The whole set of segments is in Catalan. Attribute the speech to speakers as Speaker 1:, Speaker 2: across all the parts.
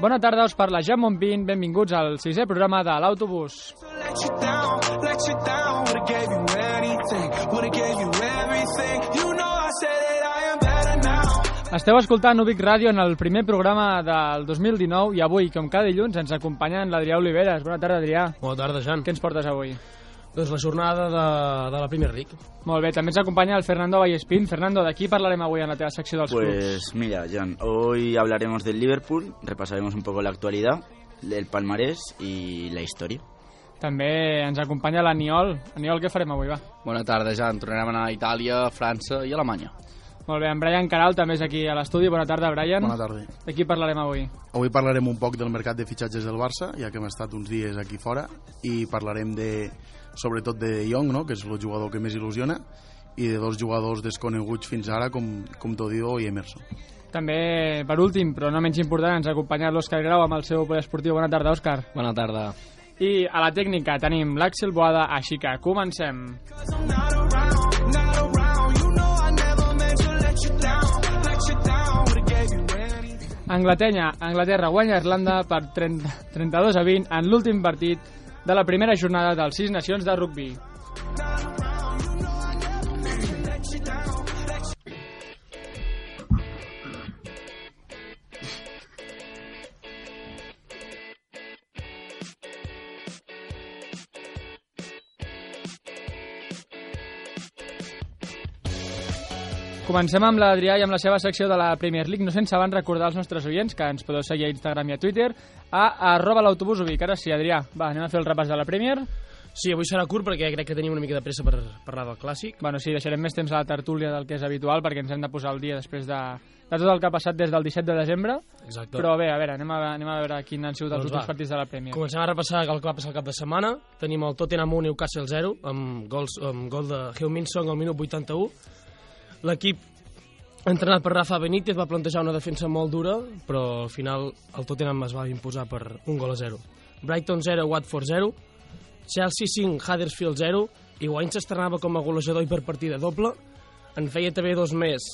Speaker 1: Bona tarda, us parla Jan Monpín, benvinguts al sisè programa de l'Autobús.
Speaker 2: So let you down, let you down. Would've gave you anything, would've gave you everything. You know I said that I am better now.
Speaker 1: Esteu escoltant Ubic Ràdio en el primer programa del 2019 i avui, com cada dilluns, ens acompanya en l'Adrià Oliveres. Bona tarda, Adrià.
Speaker 3: Bona tarda, Jan.
Speaker 1: Què ens portes avui?
Speaker 3: Doncs la jornada de, de la Premier League.
Speaker 1: Molt bé, també ens acompanya el Fernando Vallespín. Fernando, de qui parlarem avui en la teva secció dels clubs?
Speaker 4: Pues mira, Jan, hoy hablaremos del Liverpool, repasaremos un poco la actualidad, el palmarés y la historia.
Speaker 1: També ens acompanya l'Aniol. Aniol, què farem avui, va?
Speaker 5: Bona tarda, Jan. Tornarem a anar a Itàlia, França i Alemanya.
Speaker 1: Molt bé, en Brian Caral també és aquí a l'estudi. Bona tarda, Brian.
Speaker 6: Bona tarda.
Speaker 1: De qui parlarem avui?
Speaker 6: Avui parlarem un poc del mercat de fitxatges del Barça, ja que hem estat uns dies aquí fora, i parlarem de, sobretot de De Jong, no? que és el jugador que més il·lusiona, i de dos jugadors desconeguts fins ara, com, com Todido i Emerson.
Speaker 1: També, per últim, però no menys important, ens acompanya l'Òscar Grau amb el seu poder esportiu. Bona tarda, Òscar.
Speaker 3: Bona tarda.
Speaker 1: I a la tècnica tenim l'Àxel Boada, així que comencem.
Speaker 2: Cause I'm not around, not around. You know I never meant to let you down, let you down. Would've gave you anything.
Speaker 1: Anglaterra, Anglaterra guanya a Irlanda per 30, 32 a 20 en l'últim partit de la primera jornada dels Sis Nacions de Rugby. Comencem amb l'Adrià i amb la seva secció de la Premier League, no sense abans recordar als nostres oients que ens podeu seguir a Instagram i a Twitter a arroba l'autobús ubic. Ara sí, Adrià, va, anem a fer el repàs de la Premier.
Speaker 3: Sí, avui serà curt perquè crec que tenim una mica de pressa per parlar del clàssic.
Speaker 1: Bueno, sí, deixarem més temps a la tertúlia del que és habitual perquè ens hem de posar al dia després de, de tot el que ha passat des del 17 de desembre.
Speaker 3: Exacte.
Speaker 1: Però bé, a veure, anem a, anem a veure quins han sigut els
Speaker 3: Doncs
Speaker 1: últims
Speaker 3: va.
Speaker 1: partits de la Premier.
Speaker 3: Comencem a repassar el que va passar el cap de setmana. Tenim el Tottenham 1, Newcastle 0, amb, gols, amb gol de Heung-Min Song al minut 81. L'equip entrenat per Rafa Benítez va plantejar una defensa molt dura, però al final el Tottenham es va imposar per un gol a 0. Brighton 0, Watford 0, Chelsea 5, Huddersfield 0, i Wayne s'estrenava com a golejador i per partida doble, en feia també dos més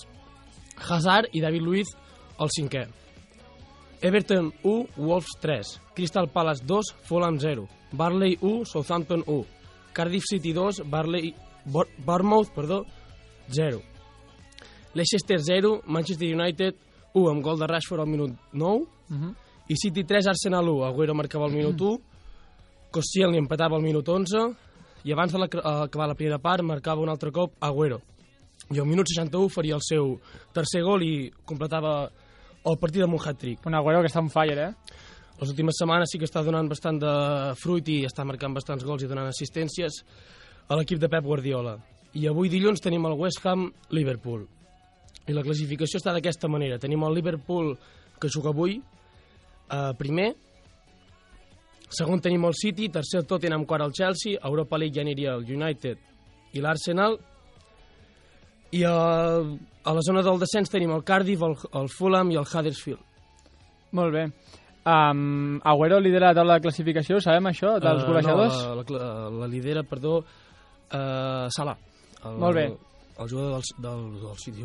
Speaker 3: Hazard i David Luiz el cinquè. Everton 1, Wolves 3, Crystal Palace 2, Fulham 0, Barley 1, Southampton 1, Cardiff City 2, Barley, Bor- Bournemouth perdó, 0. Leicester 0, Manchester United 1 amb gol de Rashford al minut 9
Speaker 1: Uh -huh.
Speaker 3: i City 3, Arsenal 1, Agüero marcava al minut 1, Cossiel li empatava al minut 11 i abans d'acabar la primera part marcava un altre cop Agüero. I al minut 61 faria el seu tercer gol i completava el partit amb un hat-trick.
Speaker 1: Un Agüero que està on fire, eh?
Speaker 3: Les últimes setmanes sí que està donant bastant de fruit i està marcant bastants gols i donant assistències a l'equip de Pep Guardiola. I avui dilluns tenim el West Ham-Liverpool. I la classificació està d'aquesta manera. Tenim el Liverpool, que juga avui, eh, primer. Segon tenim el City, tercer el Tottenham, quart el Chelsea. A Europa League ja aniria el United i l'Arsenal. I a, a la zona del descens tenim el Cardiff, el, el Fulham i el Huddersfield.
Speaker 1: Molt bé. Um, Agüero lidera la taula de classificació, sabem això, dels
Speaker 3: Eh,
Speaker 1: golejadors?
Speaker 3: No, la, la, la lidera, perdó, uh, Salah. El,
Speaker 1: Molt bé.
Speaker 3: El jugador del, del, del City.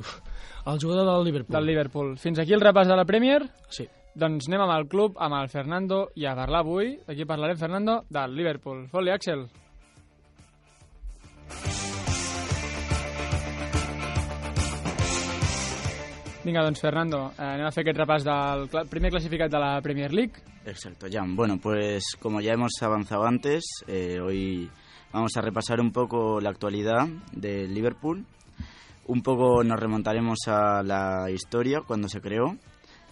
Speaker 3: El jugador del Liverpool.
Speaker 1: Del Liverpool. Fins aquí el repàs de la Premier.
Speaker 3: Sí.
Speaker 1: Doncs anem amb el club, amb el Fernando, i a parlar avui, aquí parlarem, Fernando, del Liverpool. Foli, Axel. Vinga, doncs, Fernando, eh, anem a fer aquest repàs del cla- primer classificat de la Premier League.
Speaker 4: Exacto, Jan. Bueno, pues como ya hemos avanzado antes, eh, hoy vamos a repasar un poco la actualidad de Liverpool. Un poco nos remontaremos a la historia cuando se creó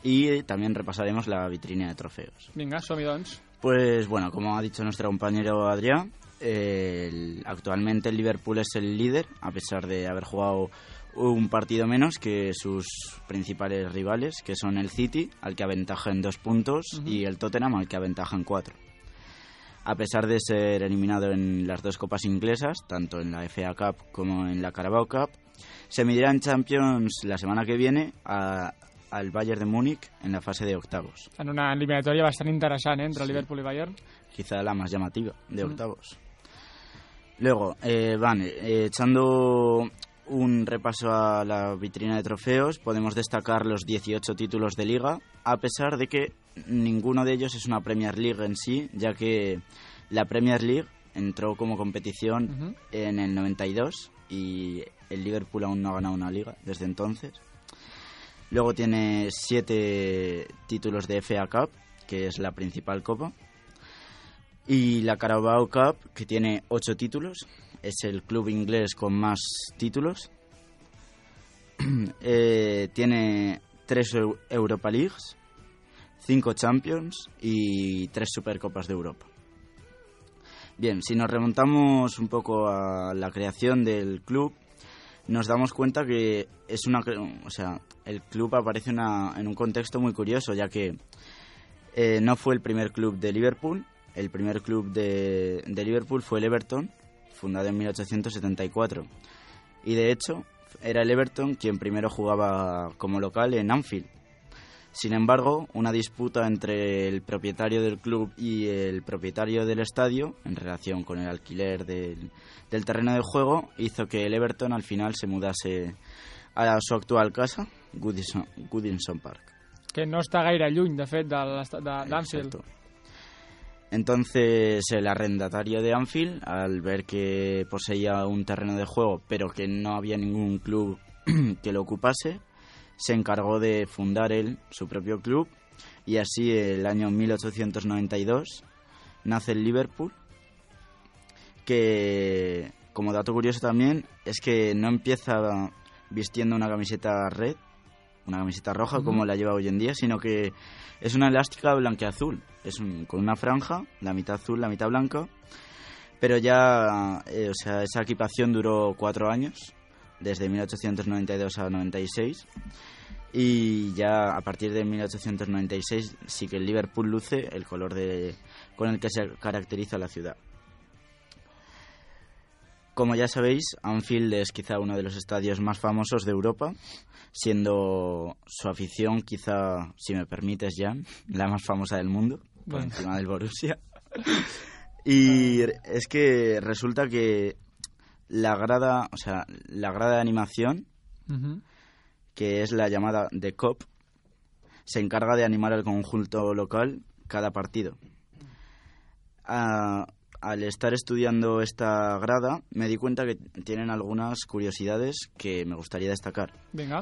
Speaker 4: y también repasaremos la vitrina de trofeos.
Speaker 1: Vinga, som-hi, doncs.
Speaker 4: Pues bueno, como ha dicho nuestro compañero Adrián, eh, el- actualmente el Liverpool es el líder, a pesar de haber jugado un partido menos que sus principales rivales, que son el City, al que aventaja en dos puntos, y el Tottenham, al que aventaja en cuatro. A pesar de ser eliminado en las dos copas inglesas, tanto en la FA Cup como en la Carabao Cup, se medirá en Champions la semana que viene a- al Bayern de Múnich en la fase de octavos
Speaker 1: En una eliminatòria bastant interessant, eh, entre sí. Liverpool i Bayern.
Speaker 4: quizá la más llamativa de octavos. Luego eh, van eh, echando un repaso a la vitrina de trofeos, podemos destacar los 18 títulos de liga, a pesar de que ninguno de ellos es una Premier League en sí, ya que la Premier League entró como competición
Speaker 1: Ujú.
Speaker 4: en el 92 y el Liverpool aún no ha ganado una liga desde entonces. Luego tiene 7 títulos de FA Cup, que es la principal copa. Y la Carabao Cup, que tiene 8 títulos, es el club inglés con más títulos. Eh, tiene 3 Europa Leagues, 5 Champions y 3 Supercopas de Europa. Bien, si nos remontamos un poco a la creación del club, nos damos cuenta que es una, cre- o sea, el club aparece una- en un contexto muy curioso, ya que eh, no fue el primer club de Liverpool, el primer club de, de Liverpool fue el Everton, fundado en 1874. Y de hecho, era el Everton quien primero jugaba como local en Anfield. Sin embargo, una disputa entre el propietario del club y el propietario del estadio, en relación con el alquiler del, del terreno de juego, hizo que el Everton al final se mudase a su actual casa, Goodison, Goodison Park.
Speaker 1: que no està gaire lluny, de fet, de l'est- de- d'Anfield.
Speaker 4: Exacto. Entonces el arrendatario de Anfield, al ver que poseía un terreno de juego, pero que no había ningún club que lo ocupase, se encargó de fundar él su propio club y así el año 1892 nace el Liverpool, que como dato curioso también es que no empieza vistiendo una camiseta red, una camiseta roja como la lleva hoy en día, sino que es una elástica blanqueazul, es un- con una franja, la mitad azul, la mitad blanca. Pero ya, eh, o sea, esa equipación duró cuatro años, desde 1892 a 96. Y ya a partir de 1896 sí que el Liverpool luce el color de, con el que se caracteriza la ciudad. Como ya sabéis, Anfield es quizá uno de los estadios más famosos de Europa, siendo su afición quizá, si me permites, Jan, la más famosa del mundo, por
Speaker 1: Bueno.
Speaker 4: encima del Borussia. Y es que resulta que la grada, o sea, la grada de animación
Speaker 1: Ujú.
Speaker 4: que es la llamada The Cop, se encarga de animar al conjunto local cada partido. Ah, al estar estudiando esta grada, me di cuenta que tienen algunas curiosidades que me gustaría destacar.
Speaker 1: Vinga.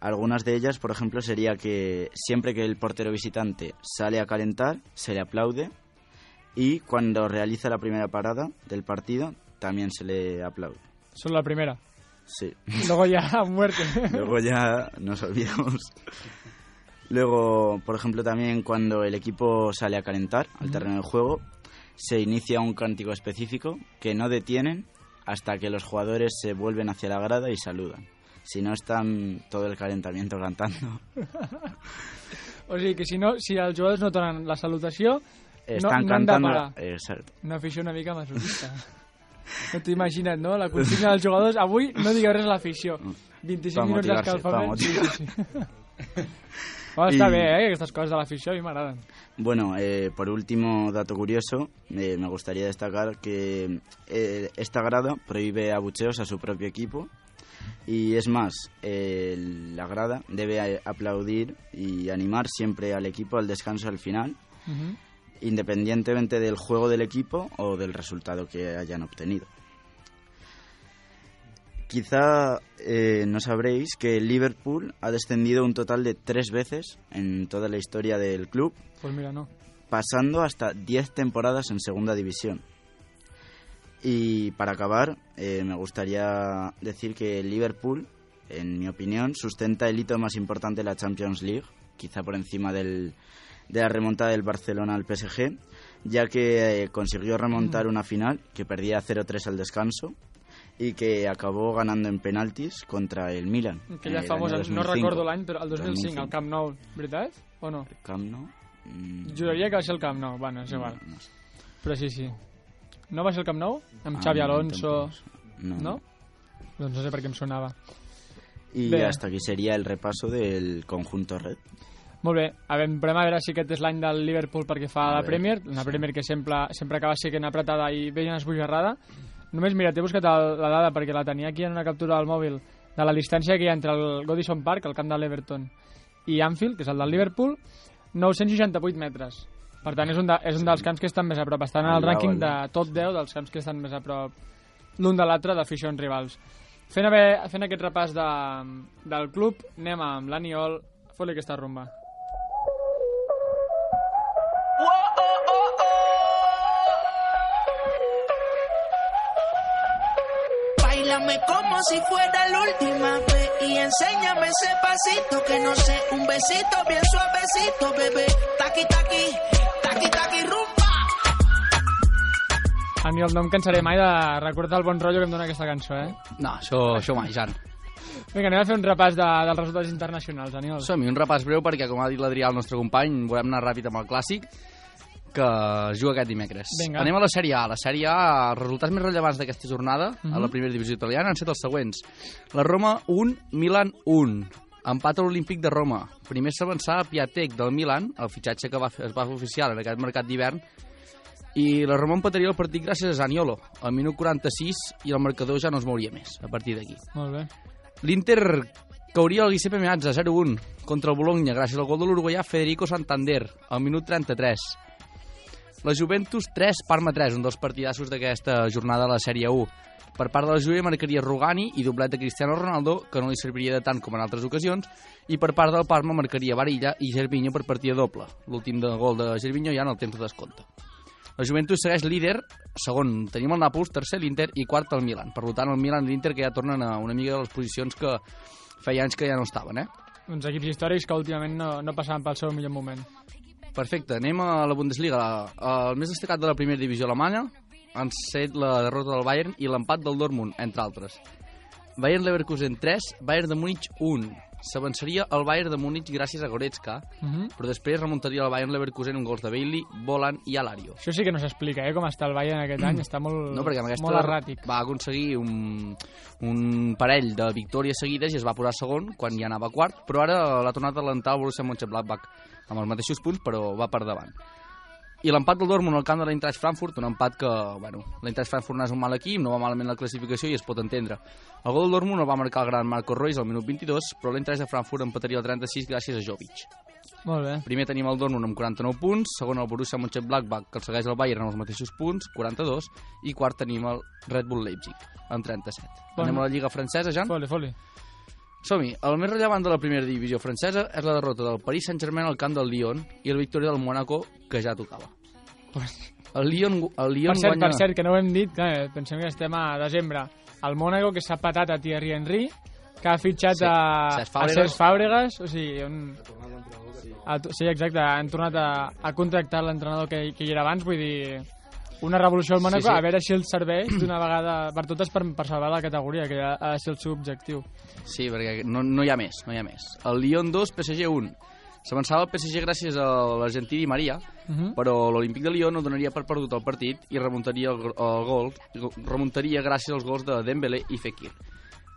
Speaker 4: Algunas de ellas, por ejemplo, sería que siempre que el portero visitante sale a calentar, se le aplaude y cuando realiza la primera parada del partido, también se le aplaude.
Speaker 1: Solo la primera.
Speaker 4: Sí.
Speaker 1: Luego ya a muerte.
Speaker 4: Luego ya nos olvidamos. Luego, por ejemplo, también cuando el equipo sale a calentar al terreno de juego, se inicia un cántico específico que no detienen hasta que los jugadores se vuelven hacia la grada y saludan. Si no, están todo el calentamiento cantando.
Speaker 1: O sigui que si, no, si els jugadors no donen la salutació,
Speaker 4: Están
Speaker 1: no han de
Speaker 4: cantando.
Speaker 1: parar.
Speaker 4: Exacto.
Speaker 1: una afició una mica masoquista. No t'ho imagina't, no? La consigna dels jugadors, avui no digueu res a l'afició. 25 minuts
Speaker 4: Pa Mm. motivar-se, pa
Speaker 1: d'escalfament. Sí, sí,
Speaker 4: motivar-se.
Speaker 1: sí. Bueno, està
Speaker 4: I-
Speaker 1: bé, eh? Aquestes coses de l'afició a mi m'agraden.
Speaker 4: Bueno, eh, por último, dato curioso, eh, me gustaría destacar que eh, esta grada prohíbe abucheos a su propio equipo y es más, eh, la grada debe a- aplaudir y animar siempre al equipo al descanso al final,
Speaker 1: Mhm.
Speaker 4: independientemente del juego del equipo o del resultado que hayan obtenido. Quizá eh, no sabréis que el Liverpool ha descendido un total de tres veces en toda la historia del club
Speaker 1: Pues mira, no.
Speaker 4: pasando hasta 10 temporadas en segunda división. Y para acabar, eh, me gustaría decir que el Liverpool, en mi opinión, sustenta el hito más importante de la Champions League, quizá por encima del- de la remontada del Barcelona al PSG, ya que eh, consiguió remontar una final que perdía 0-3 al descanso y que acabó ganando en penaltis contra el Milan. en
Speaker 1: Aquella
Speaker 4: el
Speaker 1: famosa,
Speaker 4: año
Speaker 1: no
Speaker 4: 2005.
Speaker 1: recordo l'any, però el 2005,
Speaker 4: 2005.
Speaker 1: al Camp Nou. Veritat? O no?
Speaker 4: Camp Nou. Mm,
Speaker 1: Juraria que va ser el Camp Nou. Bueno, és igual.
Speaker 4: no sé.
Speaker 1: Però sí, sí. No va ser el Camp Nou? Amb
Speaker 4: Ah,
Speaker 1: Xavi
Speaker 4: no,
Speaker 1: Alonso...
Speaker 4: tampoco.
Speaker 1: No? Doncs no sé per què em sonava.
Speaker 4: Y
Speaker 1: Venga.
Speaker 4: hasta aquí sería el repaso del conjunto red.
Speaker 1: Molt bé, a veure, volem a veure si aquest és l'any del Liverpool perquè fa
Speaker 4: A
Speaker 1: la
Speaker 4: veure,
Speaker 1: Premier, una Premier que sempre, sempre acaba sent apretada i ben esbojarrada. Només, mira, t'he buscat el, la dada perquè la tenia aquí en una captura del mòbil de la distància que hi ha entre el Godison Park, el camp de l'Everton, i Anfield, que és el del Liverpool, 968 metres. Per tant, és un, de, és un dels camps que estan més a prop. Estan en el
Speaker 4: Al
Speaker 1: rànquing de
Speaker 4: davant.
Speaker 1: top 10 dels camps que estan més a prop l'un de l'altre d'aficions rivals. Fent, haver, fent aquest repàs de, del club, anem amb l'Aniol. Fot-li aquesta rumba.
Speaker 7: oh, Bailame como si fuera la última vez y enséñame ese pasito que no sé, un besito bien suavecito, bebé. Taqui taqui, taqui taqui rumba.
Speaker 1: A mi el no em cansaré mai de recordar el bon rotllo que em dona aquesta cançó, eh?
Speaker 5: No, això, això mai, Jan.
Speaker 1: Vinga, anem a fer un repàs de, dels resultats internacionals, Aniol.
Speaker 5: Som-hi, un repàs breu perquè, com ha dit l'Adrià, el nostre company, volem anar ràpid amb el clàssic, que es juga aquest dimecres.
Speaker 1: Vinga.
Speaker 5: Anem a la Sèrie A. La Sèrie A, els resultats més rellevants d'aquesta jornada a la primera divisió italiana han set els següents. La Roma 1, Milan 1. Empat a l'Olímpic de Roma. Primer s'avançà a Piatek del Milan, el fitxatge que va, fer- es va fer oficial en aquest mercat d'hivern, i la Roma empataria el partit gràcies a Zaniolo, al minut 46, i el marcador ja no es mouria més a partir d'aquí.
Speaker 1: Molt bé.
Speaker 5: L'Inter cauria el Giuseppe Meazza 0-1 contra el Bologna gràcies al gol de l'uruguaià Federico Santander al minut 33. La Juventus 3, Parma 3, un dels partidassos d'aquesta jornada de la Sèrie 1. Per part de la Juve marcaria Rugani i doblet de Cristiano Ronaldo, que no li serviria de tant com en altres ocasions, i per part del Parma marcaria Barilla i Gervinho per partida doble, l'últim de gol de Gervinho ja en el temps de descompte. La Juventus segueix líder, segon tenim el Nàpols, tercer l'Inter i quart el Milan. Per tant, el Milan i l'Inter que ja tornen a una mica de les posicions que feia anys que ja no estaven, eh?
Speaker 1: Uns equips històrics que últimament no, no passaven pel seu millor moment.
Speaker 5: Perfecte, anem a la Bundesliga. La- El més destacat de la primera divisió alemanya han set la derrota del Bayern i l'empat del Dortmund, entre altres. Bayern Leverkusen 3, Bayern de Múnich 1. S'avançaria el Bayern de Múnich gràcies a Goretzka,
Speaker 1: Uh -huh.
Speaker 5: però després remuntaria el Bayern Leverkusen amb gols de Bailey, Volan i Alario.
Speaker 1: Això sí que no s'explica, eh, com està el Bayern aquest any. Està molt,
Speaker 5: No, perquè amb aquesta
Speaker 1: molt erràtic.
Speaker 5: va aconseguir un, un parell de victòries seguides i es va posar segon quan ja anava quart, però ara l'ha tornat a alentar el Borussia Mönchengladbach amb els mateixos punts, però va per davant. I l'empat del Dortmund al camp de l'Eintracht Frankfurt, un empat que, bueno, l'Eintracht Frankfurt no és un mal equip, no va malament la classificació i es pot entendre. El gol del Dortmund el va marcar el gran Marco Reus al minut 22, però l'Eintracht de Frankfurt empataria el 36 gràcies a Jovic.
Speaker 1: Molt bé.
Speaker 5: Primer tenim el Dortmund amb 49 punts, segon el Borussia Mönchengladbach, que el segueix el Bayern amb els mateixos punts, 42, i quart tenim el Red Bull Leipzig, amb 37.
Speaker 1: Bon.
Speaker 5: Anem a la Lliga Francesa, Jan?
Speaker 1: Foli, foli.
Speaker 5: Som-hi. El més rellevant de la primera divisió francesa és la derrota del Paris Saint-Germain al camp del Lyon i la victòria del Mónaco, que ja tocava. El Lyon, gu- el Lyon
Speaker 1: Per cert,
Speaker 5: guanya...
Speaker 1: per cert, que no ho hem dit, clar, eh, pensem que estem a desembre. El Mónaco, que s'ha patat a Thierry Henry, que ha fitxat
Speaker 5: Sí.
Speaker 1: a,
Speaker 5: Cesc
Speaker 1: a
Speaker 5: Fàbregas.
Speaker 1: Cesc Fàbregas, o sigui, un... A, to- sí, exacte, han tornat a, a contractar l'entrenador que, que hi era abans, vull dir, una revolució al Mónaco,
Speaker 5: sí.
Speaker 1: a veure si el serveix d'una vegada per totes per, per salvar la categoria, que ha, ha de ser el seu objectiu.
Speaker 5: Sí, perquè no, no hi ha més, no hi ha més. El Lyon 2, PSG 1. S'avançava el PSG gràcies a l'argentí Di Maria, uh
Speaker 1: Mhm.
Speaker 5: -huh. però l'Olímpic de Lyon no donaria per perdut el partit i remuntaria el, gr- el gol, remuntaria gràcies als gols de Dembélé i Fekir.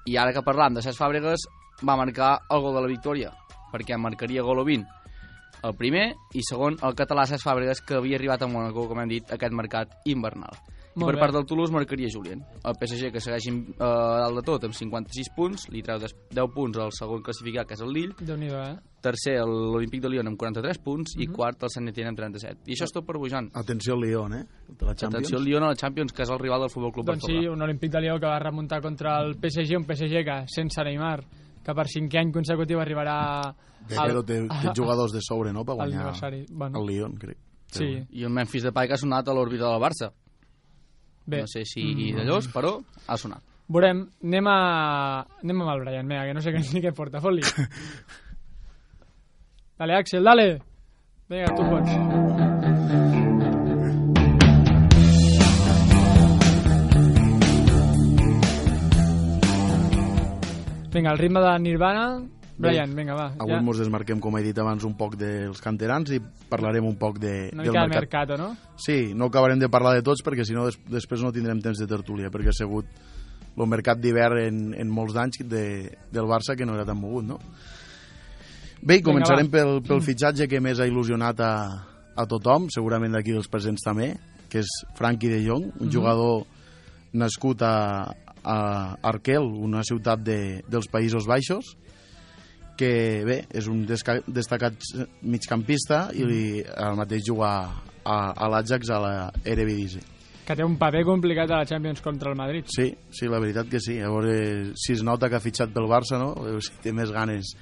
Speaker 5: I ara que parlam de Cesc Fàbregas, va marcar el gol de la victòria, perquè en marcaria gol o 20. El primer i segon, el català Cesc Fàbregas, que havia arribat a Mónaco, com hem dit, a aquest mercat invernal.
Speaker 1: Molt
Speaker 5: I per
Speaker 1: bé.
Speaker 5: part del Toulouse marcaria Julien. El PSG, que segueix eh, dalt de tot, amb 56 punts, li treu des- 10 punts al segon classificat, que és el Lille.
Speaker 1: déu nhi eh?
Speaker 5: Tercer, el- l'Olímpic de Lyon, amb 43 punts. I quart, el saint Etienne, amb 37. I això és tot per avui, Jan.
Speaker 6: Atenció al Lyon, eh? De la Champions.
Speaker 5: Atenció al Lyon a la Champions, que és el rival del Futbol Club
Speaker 1: Doncs sí,
Speaker 5: Barcelona.
Speaker 1: un olímpic de Lió que va remuntar contra el PSG, un PSG que, sense Neymar, que per cinquè any consecutiu arribarà
Speaker 6: De Pedro té, té jugadors de sobre, no?, per
Speaker 1: Ah. al
Speaker 6: guanyar
Speaker 1: aniversari. Bueno,
Speaker 6: el Lyon, crec.
Speaker 1: sí,
Speaker 5: I un Memphis Depay que ha sonat a l'òrbita del Barça.
Speaker 1: bé,
Speaker 5: No sé si mm. d'allò, però ha sonat.
Speaker 1: veurem. Anem, a... anem amb el Brian, mira, que no sé què, ni què porta, fot-li. dale, Axel, dale! Vinga, tu pots. Vinga, el ritme de Nirvana. Brian, vinga, va.
Speaker 6: Avui ens desmarquem, com he dit abans, un poc dels canterans i parlarem un poc de,
Speaker 1: Una
Speaker 6: del
Speaker 1: mica de
Speaker 6: mercat.
Speaker 1: mercato, no?
Speaker 6: Sí, no acabarem de parlar de tots perquè si no des després no tindrem temps de tertúlia perquè ha sigut el mercat d'hivern en, en molts anys de, del Barça que no era tan mogut, no? Bé, i començarem pel, pel fitxatge que més ha il·lusionat a, a tothom, segurament d'aquí dels presents també, que és Frankie de Jong, un jugador nascut a, a Arkel, una ciutat de, dels Països Baixos, que bé, és un desca, destacat migcampista i li,
Speaker 1: Mm.
Speaker 6: el mateix jugar a, a l'Ajax a la Eredivisie.
Speaker 1: Que té un paper complicat a la Champions contra el Madrid.
Speaker 6: Sí, sí, la veritat que sí. Llavors, eh, si es nota que ha fitxat pel Barça, no? Eh, Si té més ganes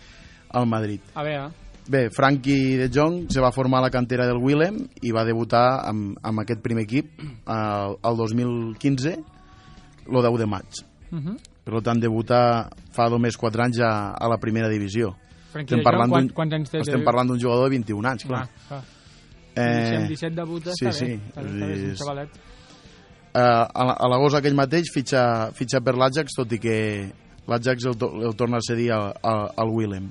Speaker 6: al Madrid.
Speaker 1: A veure,
Speaker 6: Bé, Frankie de Jong se va formar a la cantera del Willem i va debutar amb, amb aquest primer equip el, el 2015, el 10 de maig.
Speaker 1: uh -huh.
Speaker 6: Per tant, debutar fa només 4 anys a, a la primera divisió.
Speaker 1: Frankie de Jong, quan-
Speaker 6: d'un-
Speaker 1: quants anys té?
Speaker 6: estem parlant d'un jugador de 21 anys, clar.
Speaker 1: clar. clar. Eh... Si amb
Speaker 6: Eh,
Speaker 1: 17 debuta,
Speaker 6: sí,
Speaker 1: està
Speaker 6: sí,
Speaker 1: bé. Està bé, està bé, és un
Speaker 6: és-
Speaker 1: xavalet.
Speaker 6: eh, a la- a l'agost aquell mateix fitxa, fitxa per l'Ajax, tot i que l'Ajax el, to- el torna a cedir al, al, al Willem.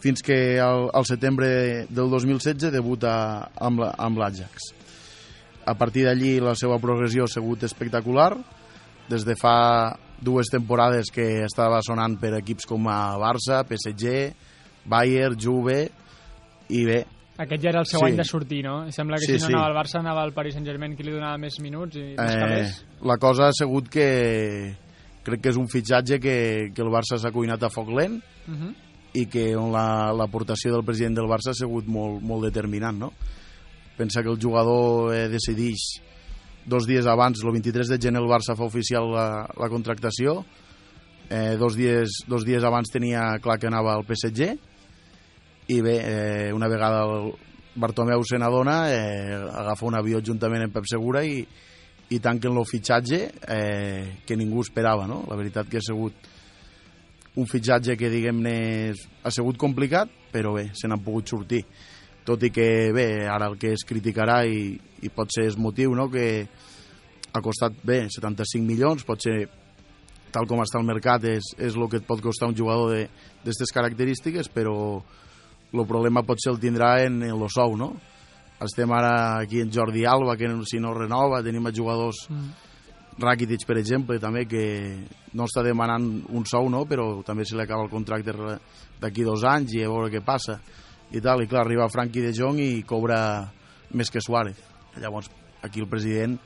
Speaker 6: Fins que al, al setembre del 2016 debuta amb la- amb l'Ajax. A partir d'allí la seva progressió ha sigut espectacular. Des de fa dues temporades que estava sonant per equips com a Barça, PSG, Bayern, Juve i bé,
Speaker 1: Aquest ja era el seu
Speaker 6: Sí.
Speaker 1: any de sortir, no? Sembla que
Speaker 6: Sí,
Speaker 1: si no
Speaker 6: sí.
Speaker 1: anava al Barça anava al Paris Saint-Germain que li donava més minuts i més
Speaker 6: Eh,
Speaker 1: calés.
Speaker 6: la cosa ha sigut que crec que és un fitxatge que, que el Barça s'ha cuinat a foc lent
Speaker 1: Uh -huh.
Speaker 6: i que la- l'aportació del president del Barça ha sigut molt, molt determinant, no? Pensa que el jugador eh, decideix dos dies abans, el 23 de gener el Barça fa oficial la, la contractació, eh, dos, dies, dos dies abans tenia clar que anava al PSG i bé, eh, una vegada el Bartomeu se n'adona, eh, agafa un avió juntament amb Pep Segura i, i tanquen el fitxatge eh, que ningú esperava, no? La veritat que ha sigut un fitxatge que, diguem-ne, ha sigut complicat, però bé, se n'han pogut sortir. Tot i que, bé, ara el que es criticarà i, i pot ser és motiu, no?, que ha costat, bé, 75 milions, pot ser, tal com està el mercat, és, és el que et pot costar un jugador de- d'aquestes característiques, però el problema potser el tindrà en, en lo sou, no? Estem ara aquí en Jordi Alba, que si no renova, tenim a jugadors
Speaker 1: Mm.
Speaker 6: Rakitic, per exemple, també, que no està demanant un sou, no? però també se li acaba el contracte re- d'aquí dos anys i a veure què passa. I tal, i clar, arriba Frankie de Jong i cobra més que Suárez. Llavors, aquí el president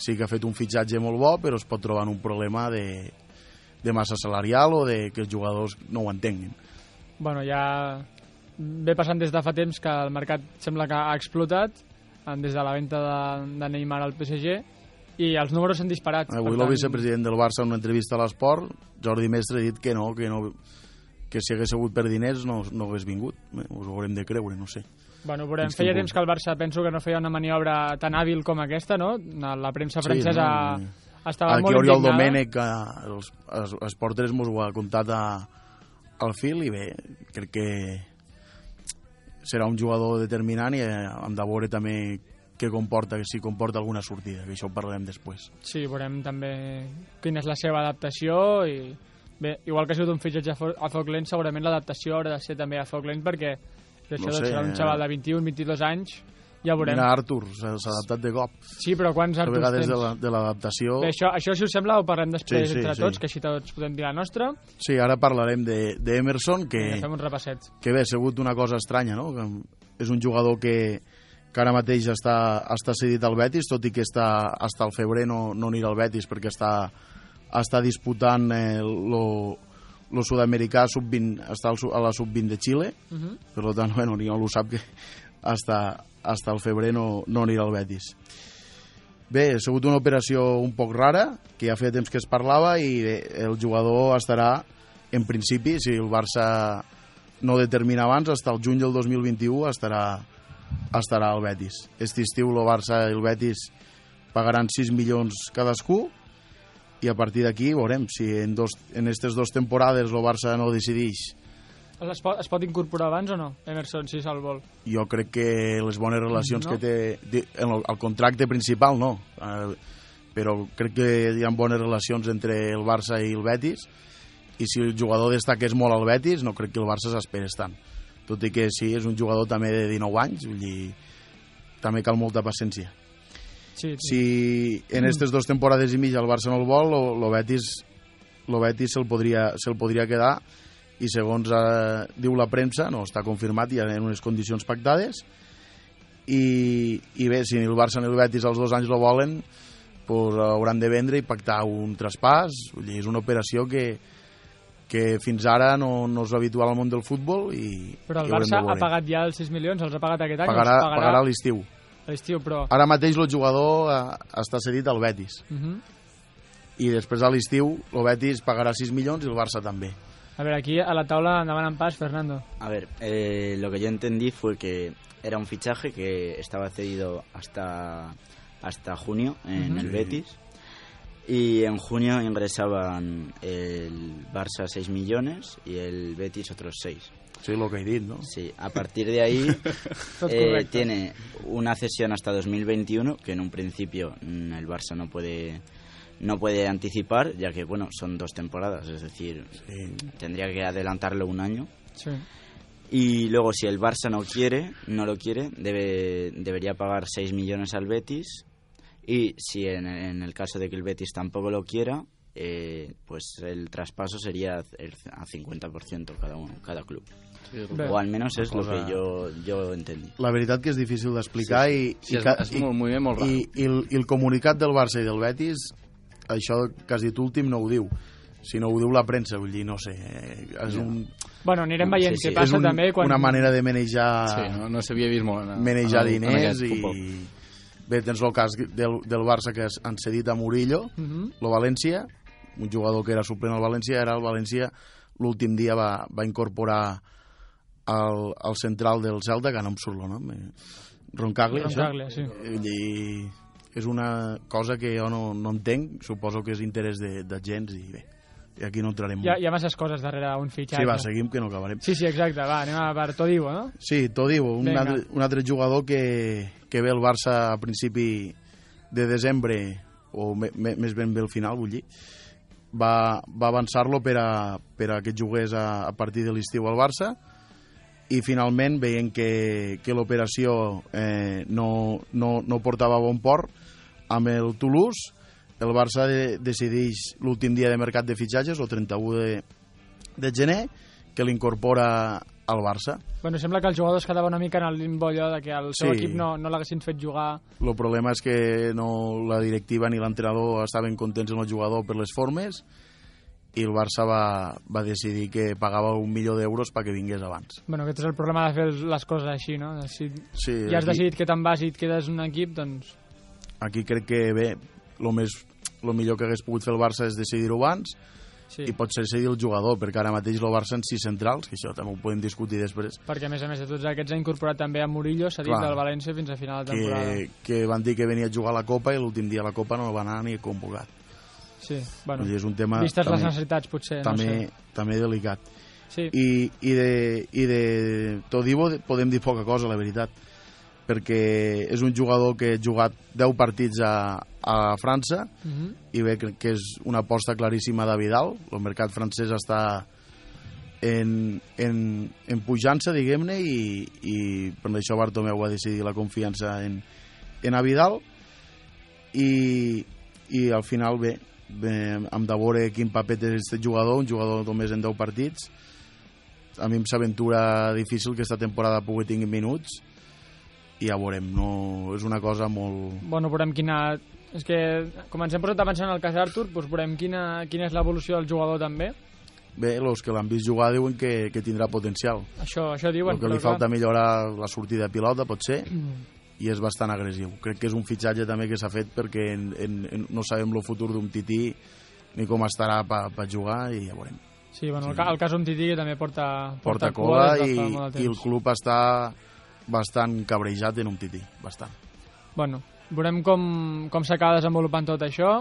Speaker 6: sí que ha fet un fitxatge molt bo, però es pot trobar en un problema de, de massa salarial o de que els jugadors no ho entenguin.
Speaker 1: Bueno, ja ve passant des de fa temps que el mercat sembla que ha explotat en- des de la venda de, de Neymar al PSG i els números s'han disparat.
Speaker 6: Avui
Speaker 1: Per
Speaker 6: el vicepresident del Barça en una entrevista a l'Esport, Jordi Mestre, ha dit que no, que no que si hagués sigut per diners no, no hagués vingut. Bé, us ho haurem de creure, no sé.
Speaker 1: Bueno, veurem.
Speaker 6: Fins
Speaker 1: Feia
Speaker 6: tipus.
Speaker 1: temps que el Barça penso que no feia una maniobra tan hàbil com aquesta, no? La premsa
Speaker 6: Sí,
Speaker 1: francesa
Speaker 6: no,
Speaker 1: estava
Speaker 6: Aquí
Speaker 1: molt
Speaker 6: Oriol
Speaker 1: indignada.
Speaker 6: Domènech, eh, els, els, els porters mos ho ha contat a, al fil i bé, crec que serà un jugador determinant i eh, hem de veure també què comporta, si comporta alguna sortida, que això ho parlarem després.
Speaker 1: Sí, veurem també quina és la seva adaptació i bé, igual que ha sigut un fitxatge a fo- a foc lent, segurament l'adaptació haurà de ser també a foc lent perquè això no
Speaker 6: No sé,
Speaker 1: serà un
Speaker 6: eh.
Speaker 1: xaval de 21, 22 anys, ja veurem.
Speaker 6: Mira, Artur, s'ha s'ha adaptat de cop.
Speaker 1: Sí, però quants
Speaker 6: A
Speaker 1: Arturs
Speaker 6: vegades
Speaker 1: tens?
Speaker 6: de la- de l'adaptació...
Speaker 1: Bé, això, això, si us sembla, ho parlem després
Speaker 6: Sí, sí,
Speaker 1: entre
Speaker 6: sí.
Speaker 1: tots, que així tots podem dir la nostra,
Speaker 6: Sí, ara parlarem d'Emerson, de, que...
Speaker 1: i fem un repasset.
Speaker 6: que bé, ha sigut una cosa estranya, no? Que és un jugador que, que ara mateix està, està cedit al Betis, tot i que està, hasta el febrer no, no anirà al Betis perquè està, està disputant eh, lo, lo sud-americà sub-20, està al su- a la sub-20 de Xile,
Speaker 1: Uh -huh.
Speaker 6: per tant, bueno, ningú ho sap que hasta, hasta el febrer no, no anirà al Betis. Bé, ha sigut una operació un poc rara, que ja feia temps que es parlava, i bé, el jugador estarà, en principi, si el Barça no determina abans, hasta el juny del 2021 estarà, estarà al Betis. Este estiu el Barça i el Betis pagaran 6 milions cadascú, i a partir d'aquí veurem si en, dos, en aquestes dues temporades el Barça no decideix
Speaker 1: Es, pot, es pot incorporar abans o no, Emerson, si se'l vol?
Speaker 6: jo crec que les bones relacions
Speaker 1: No.
Speaker 6: que té di- en el, el contracte principal no eh, però crec que hi ha bones relacions entre el Barça i el Betis i si el jugador destaqués molt al Betis no crec que el Barça s'esperés tant tot i que sí, és un jugador també de 19 anys vull dir, també cal molta paciència
Speaker 1: Sí,
Speaker 6: si
Speaker 1: Mm.
Speaker 6: en aquestes dues temporades i mitja el Barça no el vol, lo, lo Betis, lo Betis se'l podria, se podria quedar i segons eh, diu la premsa, no està confirmat, hi ha unes condicions pactades i, i bé, si ni el Barça ni el Betis als dos anys lo volen pues, hauran de vendre i pactar un traspàs. Vull dir, és una operació que, que fins ara no, no és habitual al món del futbol i
Speaker 1: Però
Speaker 6: i
Speaker 1: el
Speaker 6: haurem de
Speaker 1: Barça ha
Speaker 6: veure.
Speaker 1: pagat ja els 6 milions, els ha pagat aquest any,
Speaker 6: pagarà,
Speaker 1: els
Speaker 6: pagarà a l'estiu.
Speaker 1: a l'estiu, però...
Speaker 6: Ara mateix el jugador eh, està cedit al Betis
Speaker 1: Mhm.
Speaker 6: i després a l'estiu el Betis pagarà 6 milions i el Barça també.
Speaker 1: A veure, aquí a la taula andaban en pas, Fernando.
Speaker 4: A ver, eh, lo que yo entendí fue que era un fichaje que estaba cedido hasta, hasta junio en
Speaker 1: Ujú.
Speaker 4: el
Speaker 6: Sí.
Speaker 4: Betis. Y en junio ingresaban el Barça 6 millones y el Betis otros 6.
Speaker 6: Sí, el que he dit, no?
Speaker 4: Sí, a partir de ahí
Speaker 1: Tot
Speaker 4: eh,
Speaker 1: correcte.
Speaker 4: tiene una cesión hasta 2021 que en un principio mm, el Barça no puede no puede anticipar ya que bueno son dos temporadas es decir
Speaker 6: Sí.
Speaker 4: tendría que adelantarlo un año
Speaker 1: Sí.
Speaker 4: y luego si el Barça no quiere no lo quiere debe, debería pagar 6 millones al Betis y si en, en el caso de que el Betis tampoco lo quiera eh, pues el traspaso sería el- a 50% cada uno cada club
Speaker 1: Bé.
Speaker 4: o al menos es lo
Speaker 6: cosa-
Speaker 4: que yo yo entendí
Speaker 6: La veritat que és difícil d'explicar sí,
Speaker 5: Sí,
Speaker 6: i, i,
Speaker 5: és,
Speaker 6: ca-
Speaker 5: és un moviment molt raro.
Speaker 6: i, i, el, i el comunicat del Barça i del Betis, això que has dit últim no ho diu, sinó ho diu la premsa, vull dir, no sé, eh, és, un,
Speaker 1: Bueno, anirem
Speaker 4: Sí,
Speaker 1: veient
Speaker 4: sí.
Speaker 1: què
Speaker 6: Mm, és
Speaker 1: passa
Speaker 6: un,
Speaker 1: també quan...
Speaker 6: una manera de manejar,
Speaker 5: Sí, no, no s'havia vist molt. En,
Speaker 6: manejar
Speaker 5: en- en
Speaker 6: diners
Speaker 5: aquest
Speaker 6: i...
Speaker 5: futbol.
Speaker 6: Bé, tens el cas del, del Barça que han cedit a Murillo,
Speaker 1: Mhm.
Speaker 6: el València, un jugador que era suplent al València, ara el València l'últim dia va, va incorporar el, el central del Celta, que no em surt el nom, eh, Roncaglia, això.
Speaker 1: Roncaglia, sí.
Speaker 6: Vull dir, és una cosa que jo no, no entenc, suposo que és interès de, de gens i bé, i aquí no entrarem.
Speaker 1: Hi ha, hi ha masses coses darrere un fitxatge.
Speaker 6: sí, va, seguim que no acabarem.
Speaker 1: Sí, sí, exacte, va, anem a per Todibo, no?
Speaker 6: Sí, Todibo, un
Speaker 1: Vinga.
Speaker 6: altre, un altre jugador que, que ve al Barça a principi de desembre, o me, me, més ben bé al final, vull dir, va, va avançar-lo per a, per a que jugués a, a partir de l'estiu al Barça, i finalment veient que, que l'operació eh, no, no, no portava a bon port amb el Toulouse, el Barça de, decideix l'últim dia de mercat de fitxatges, el 31 de, de gener, que l'incorpora al Barça.
Speaker 1: Bueno, sembla que el jugador es quedava una mica en el limbo allò de que el seu
Speaker 6: Sí.
Speaker 1: equip no, no l'haguessin fet jugar.
Speaker 6: El problema és que no la directiva ni l'entrenador estaven contents amb el jugador per les formes i el Barça va, va decidir que pagava un milió d'euros perquè vingués abans.
Speaker 1: Bueno, aquest és el problema de fer les coses així, no? De Si
Speaker 6: Sí,
Speaker 1: ja has
Speaker 6: aquí,
Speaker 1: decidit que te'n vas i et quedes en un equip, doncs...
Speaker 6: aquí crec que bé, el més el millor que hagués pogut fer el Barça és decidir-ho abans
Speaker 1: Sí,
Speaker 6: i potser cedir el jugador, perquè ara mateix el Barça en sis centrals, que això també ho podem discutir després,
Speaker 1: perquè a més a més de tots aquests ha incorporat també a Murillo, s'ha dit
Speaker 6: Clar.
Speaker 1: del València fins a final de temporada.
Speaker 6: que, que van dir que venia a jugar a la Copa i l'últim dia a la Copa no el van anar ni convocat.
Speaker 1: Sí, bueno,
Speaker 6: Vull dir, és un tema
Speaker 1: vistes les
Speaker 6: també,
Speaker 1: necessitats potser,
Speaker 6: també,
Speaker 1: no
Speaker 6: també delicat.
Speaker 1: sé. Sí,
Speaker 6: I, i, de, i de Todibo de- podem dir poca cosa, la veritat, perquè és un jugador que ha jugat 10 partits a, a França
Speaker 1: Mhm.
Speaker 6: i bé, crec que és una aposta claríssima de Vidal. El mercat francès està en, en, en pujança, diguem-ne, i, i per això Bartomeu va decidir la confiança en, en a Vidal i, i al final bé, bé hem de veure quin paper té aquest jugador, un jugador només en 10 partits a mi em s'aventura difícil que esta temporada pugui tenir minuts i ja veurem, no, és una cosa molt...
Speaker 1: bueno, veurem quina... És que com ens hem posat a pensar en el cas d'Artur, doncs veurem quina, quina és l'evolució del jugador també.
Speaker 6: Bé, els que l'han vist jugar diuen que, que tindrà potencial.
Speaker 1: Això, això diuen.
Speaker 6: El que li
Speaker 1: però clar, Mm.
Speaker 6: falta millorar la sortida de pilota, pot ser, i és bastant agressiu. Crec que és un fitxatge també que s'ha fet perquè en, en, en, no sabem el futur d'un tití ni com estarà per pa jugar i ja veurem.
Speaker 1: Sí, bueno, el, ca- el cas Umtiti que també porta,
Speaker 6: Porta cola
Speaker 1: des de
Speaker 6: i,
Speaker 1: fa molt de
Speaker 6: i el
Speaker 1: temps.
Speaker 6: club està bastant cabrejat en un tití, bastant.
Speaker 1: Bueno, veurem com, com s'acaba desenvolupant tot això.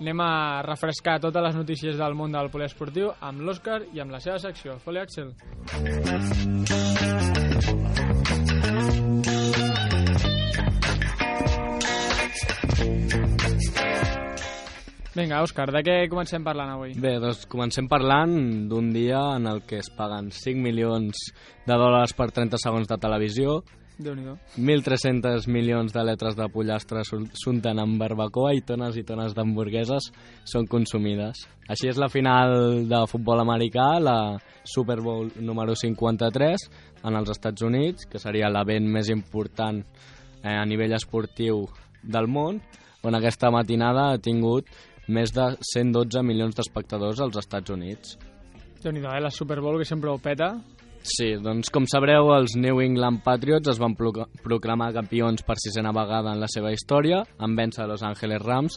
Speaker 1: Anem a refrescar totes les notícies del món del poliesportiu amb l'Òscar i amb la seva secció. Foli, Axel. Vinga, Òscar, de què comencem parlant avui?
Speaker 8: Bé, doncs comencem parlant d'un dia en el que es paguen 5 milions de dòlars per 30 segons de televisió,
Speaker 1: Déu-n'hi-do.
Speaker 8: 1.300 milions de litres de pollastre sun- s'unten amb barbacoa i tones i tones d'hamburgueses són consumides. Així és la final de futbol americà, la Super Bowl número 53 en els Estats Units, que seria l'event més important eh, a nivell esportiu del món, on aquesta matinada ha tingut més de 112 milions d'espectadors als Estats Units.
Speaker 1: déu nhi eh? La Super Bowl, que sempre ho peta.
Speaker 8: Sí, doncs com sabreu, els New England Patriots es van proca- proclamar campions per sisena vegada en la seva història, en vèncer a Los Angeles Rams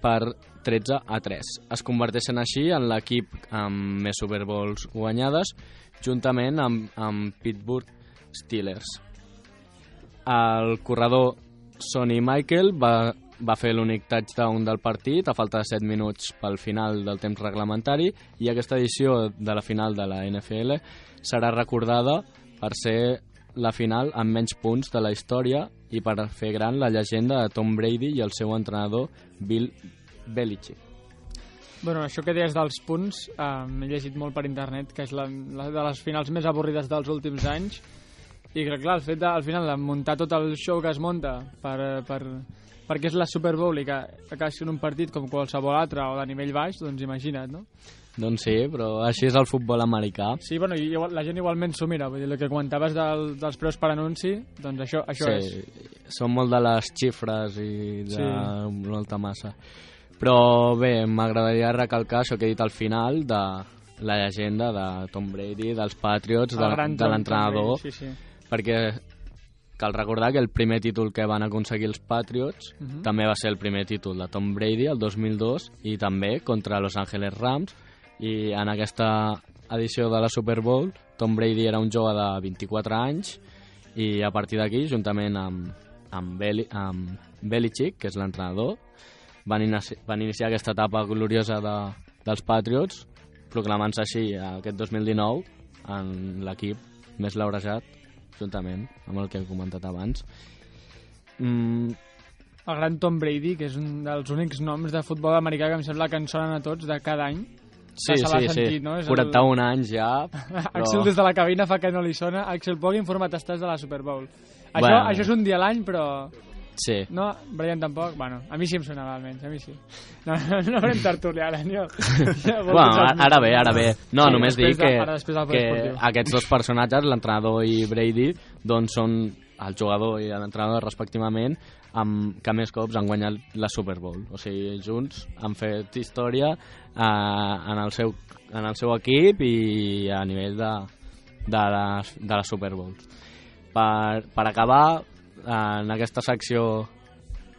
Speaker 8: per 13 a 3. Es converteixen així en l'equip amb més Super Bowls guanyades, juntament amb, amb Pittsburgh Steelers. El corredor Sonny Michael va, va fer l'únic touchdown del partit a falta de 7 minuts pel final del temps reglamentari i aquesta edició de la final de la NFL serà recordada per ser la final amb menys punts de la història i per fer gran la llegenda de Tom Brady i el seu entrenador Bill Belichick.
Speaker 1: Bueno, això que deies dels punts, eh, he llegit molt per internet, que és la, la de les finals més avorrides dels últims anys, i crec, clar, el fet de, al final de muntar tot el show que es munta per, eh, per, perquè és la Super Bowl i que acaba sent un partit com qualsevol altre o de nivell baix, doncs imagina't, no?
Speaker 8: Doncs sí, però així és el futbol americà.
Speaker 1: Sí, bueno, i igual, la gent igualment s'ho mira, vull dir, el que comentaves del, dels preus per anunci, doncs això, això
Speaker 8: sí,
Speaker 1: és.
Speaker 8: Són molt de les xifres i de
Speaker 1: Sí.
Speaker 8: molta massa. Però bé, m'agradaria recalcar això que he dit al final de la llegenda de Tom Brady, dels Patriots, de,
Speaker 1: El gran
Speaker 8: de
Speaker 1: Tom
Speaker 8: l'entrenador,
Speaker 1: Brady, Sí, sí.
Speaker 8: perquè cal recordar que el primer títol que van aconseguir els Patriots
Speaker 1: Mhm.
Speaker 8: també va ser el primer títol de Tom Brady el 2002 i també contra Los Angeles Rams i en aquesta edició de la Super Bowl Tom Brady era un jove de 24 anys i a partir d'aquí juntament amb, amb, Beli, amb Belichick que és l'entrenador van, inici, van iniciar aquesta etapa gloriosa de, dels Patriots proclamant-se així aquest 2019 en l'equip més laurejat juntament amb el que he comentat abans mm,
Speaker 1: El gran Tom Brady, que és un dels únics noms de futbol americà que em sembla que ens sonen a tots de cada any.
Speaker 8: Sí,
Speaker 1: se l'ha
Speaker 8: sí, sí.
Speaker 1: sentit, no? És el-
Speaker 8: 41 anys ja.
Speaker 1: Axel des de la cabina fa que no li sona. Axel, poc informat estàs de la Super Bowl. Això, bueno.
Speaker 8: Bueno.
Speaker 1: això és un dia a l'any, però...
Speaker 8: Sí.
Speaker 1: No, Brian tampoc. Bueno, a mi sí em sonava, almenys, a mi sí. No, no, no farem tertúlia ara, no. Ja vol
Speaker 8: Bueno,
Speaker 1: posar-
Speaker 8: ara, ara bé, ara bé. No,
Speaker 1: Sí,
Speaker 8: només
Speaker 1: després de-
Speaker 8: dic que,
Speaker 1: ara després del
Speaker 8: que
Speaker 1: poliesportiu.
Speaker 8: aquests dos personatges, l'entrenador i Brady, doncs són el jugador i l'entrenador respectivament amb, que més cops han guanyat la Super Bowl. O sigui, junts han fet història eh, en, el seu, en el seu equip i a nivell de, de, les, de la Super Bowl. Per, per acabar, eh, en aquesta secció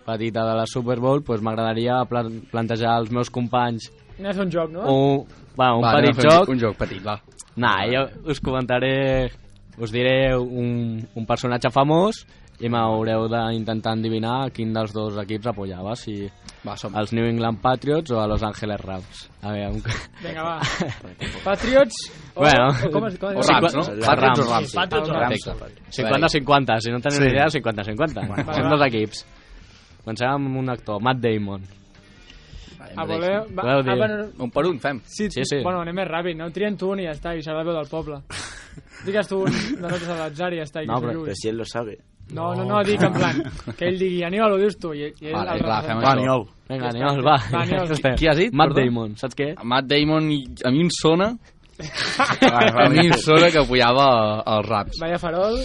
Speaker 8: petita de la Super Bowl, doncs m'agradaria plan plantejar als meus companys
Speaker 1: No és un joc, no?
Speaker 8: un, va, un
Speaker 5: va, anem a
Speaker 8: petit
Speaker 5: fer
Speaker 8: joc.
Speaker 5: Un joc petit, va.
Speaker 8: Nah, jo us comentaré... Us diré un, un personatge famós i m'haureu d'intentar endivinar quin dels dos equips apoyava, si
Speaker 5: Va, som.
Speaker 8: els New England Patriots o a Los Angeles Rams. A veure,
Speaker 1: Vinga, va. Patriots... O,
Speaker 8: Bueno.
Speaker 1: o com es, com es
Speaker 5: O
Speaker 1: diu?
Speaker 5: Rams, no?
Speaker 8: Rams.
Speaker 5: Patriots o
Speaker 8: Sí,
Speaker 5: Rams.
Speaker 3: Patriots o
Speaker 1: Rams.
Speaker 5: Perfecte.
Speaker 8: 50-50, si no teniu
Speaker 6: Sí.
Speaker 8: ni idea, 50-50.
Speaker 1: va,
Speaker 8: Són
Speaker 1: va.
Speaker 8: dos equips. Comencem amb un actor, Matt Damon.
Speaker 1: A voler... Va,
Speaker 8: Voleu dir?
Speaker 1: ah, bueno,
Speaker 5: Un per un, fem.
Speaker 1: sí,
Speaker 8: Sí, sí.
Speaker 1: Bueno, anem més ràpid, no? Trien tu un i ja està, i serà la veu del poble. Digues tu un de notes a l'atzar i ja està. I
Speaker 8: No,
Speaker 1: que
Speaker 8: però-
Speaker 1: s'ho
Speaker 4: Pero
Speaker 1: jugui.
Speaker 4: si él lo sabe.
Speaker 1: No, no, no, dic en plan, que ell digui, Aníbal, ho dius tu, i, i ell
Speaker 5: Vale,
Speaker 1: el
Speaker 5: clar,
Speaker 1: representa.
Speaker 5: fem
Speaker 6: Va,
Speaker 5: això.
Speaker 6: Aniol.
Speaker 8: Vinga, Aniol, va.
Speaker 1: Va, Aniol.
Speaker 8: Estem.
Speaker 5: Qui has dit?
Speaker 8: Matt
Speaker 5: Perdó?
Speaker 8: Damon, saps què?
Speaker 5: Matt Damon, i- a mi em sona...
Speaker 6: Vale,
Speaker 5: A mi
Speaker 6: vale.
Speaker 5: em sona que apoyava els Rams.
Speaker 1: Vaya farol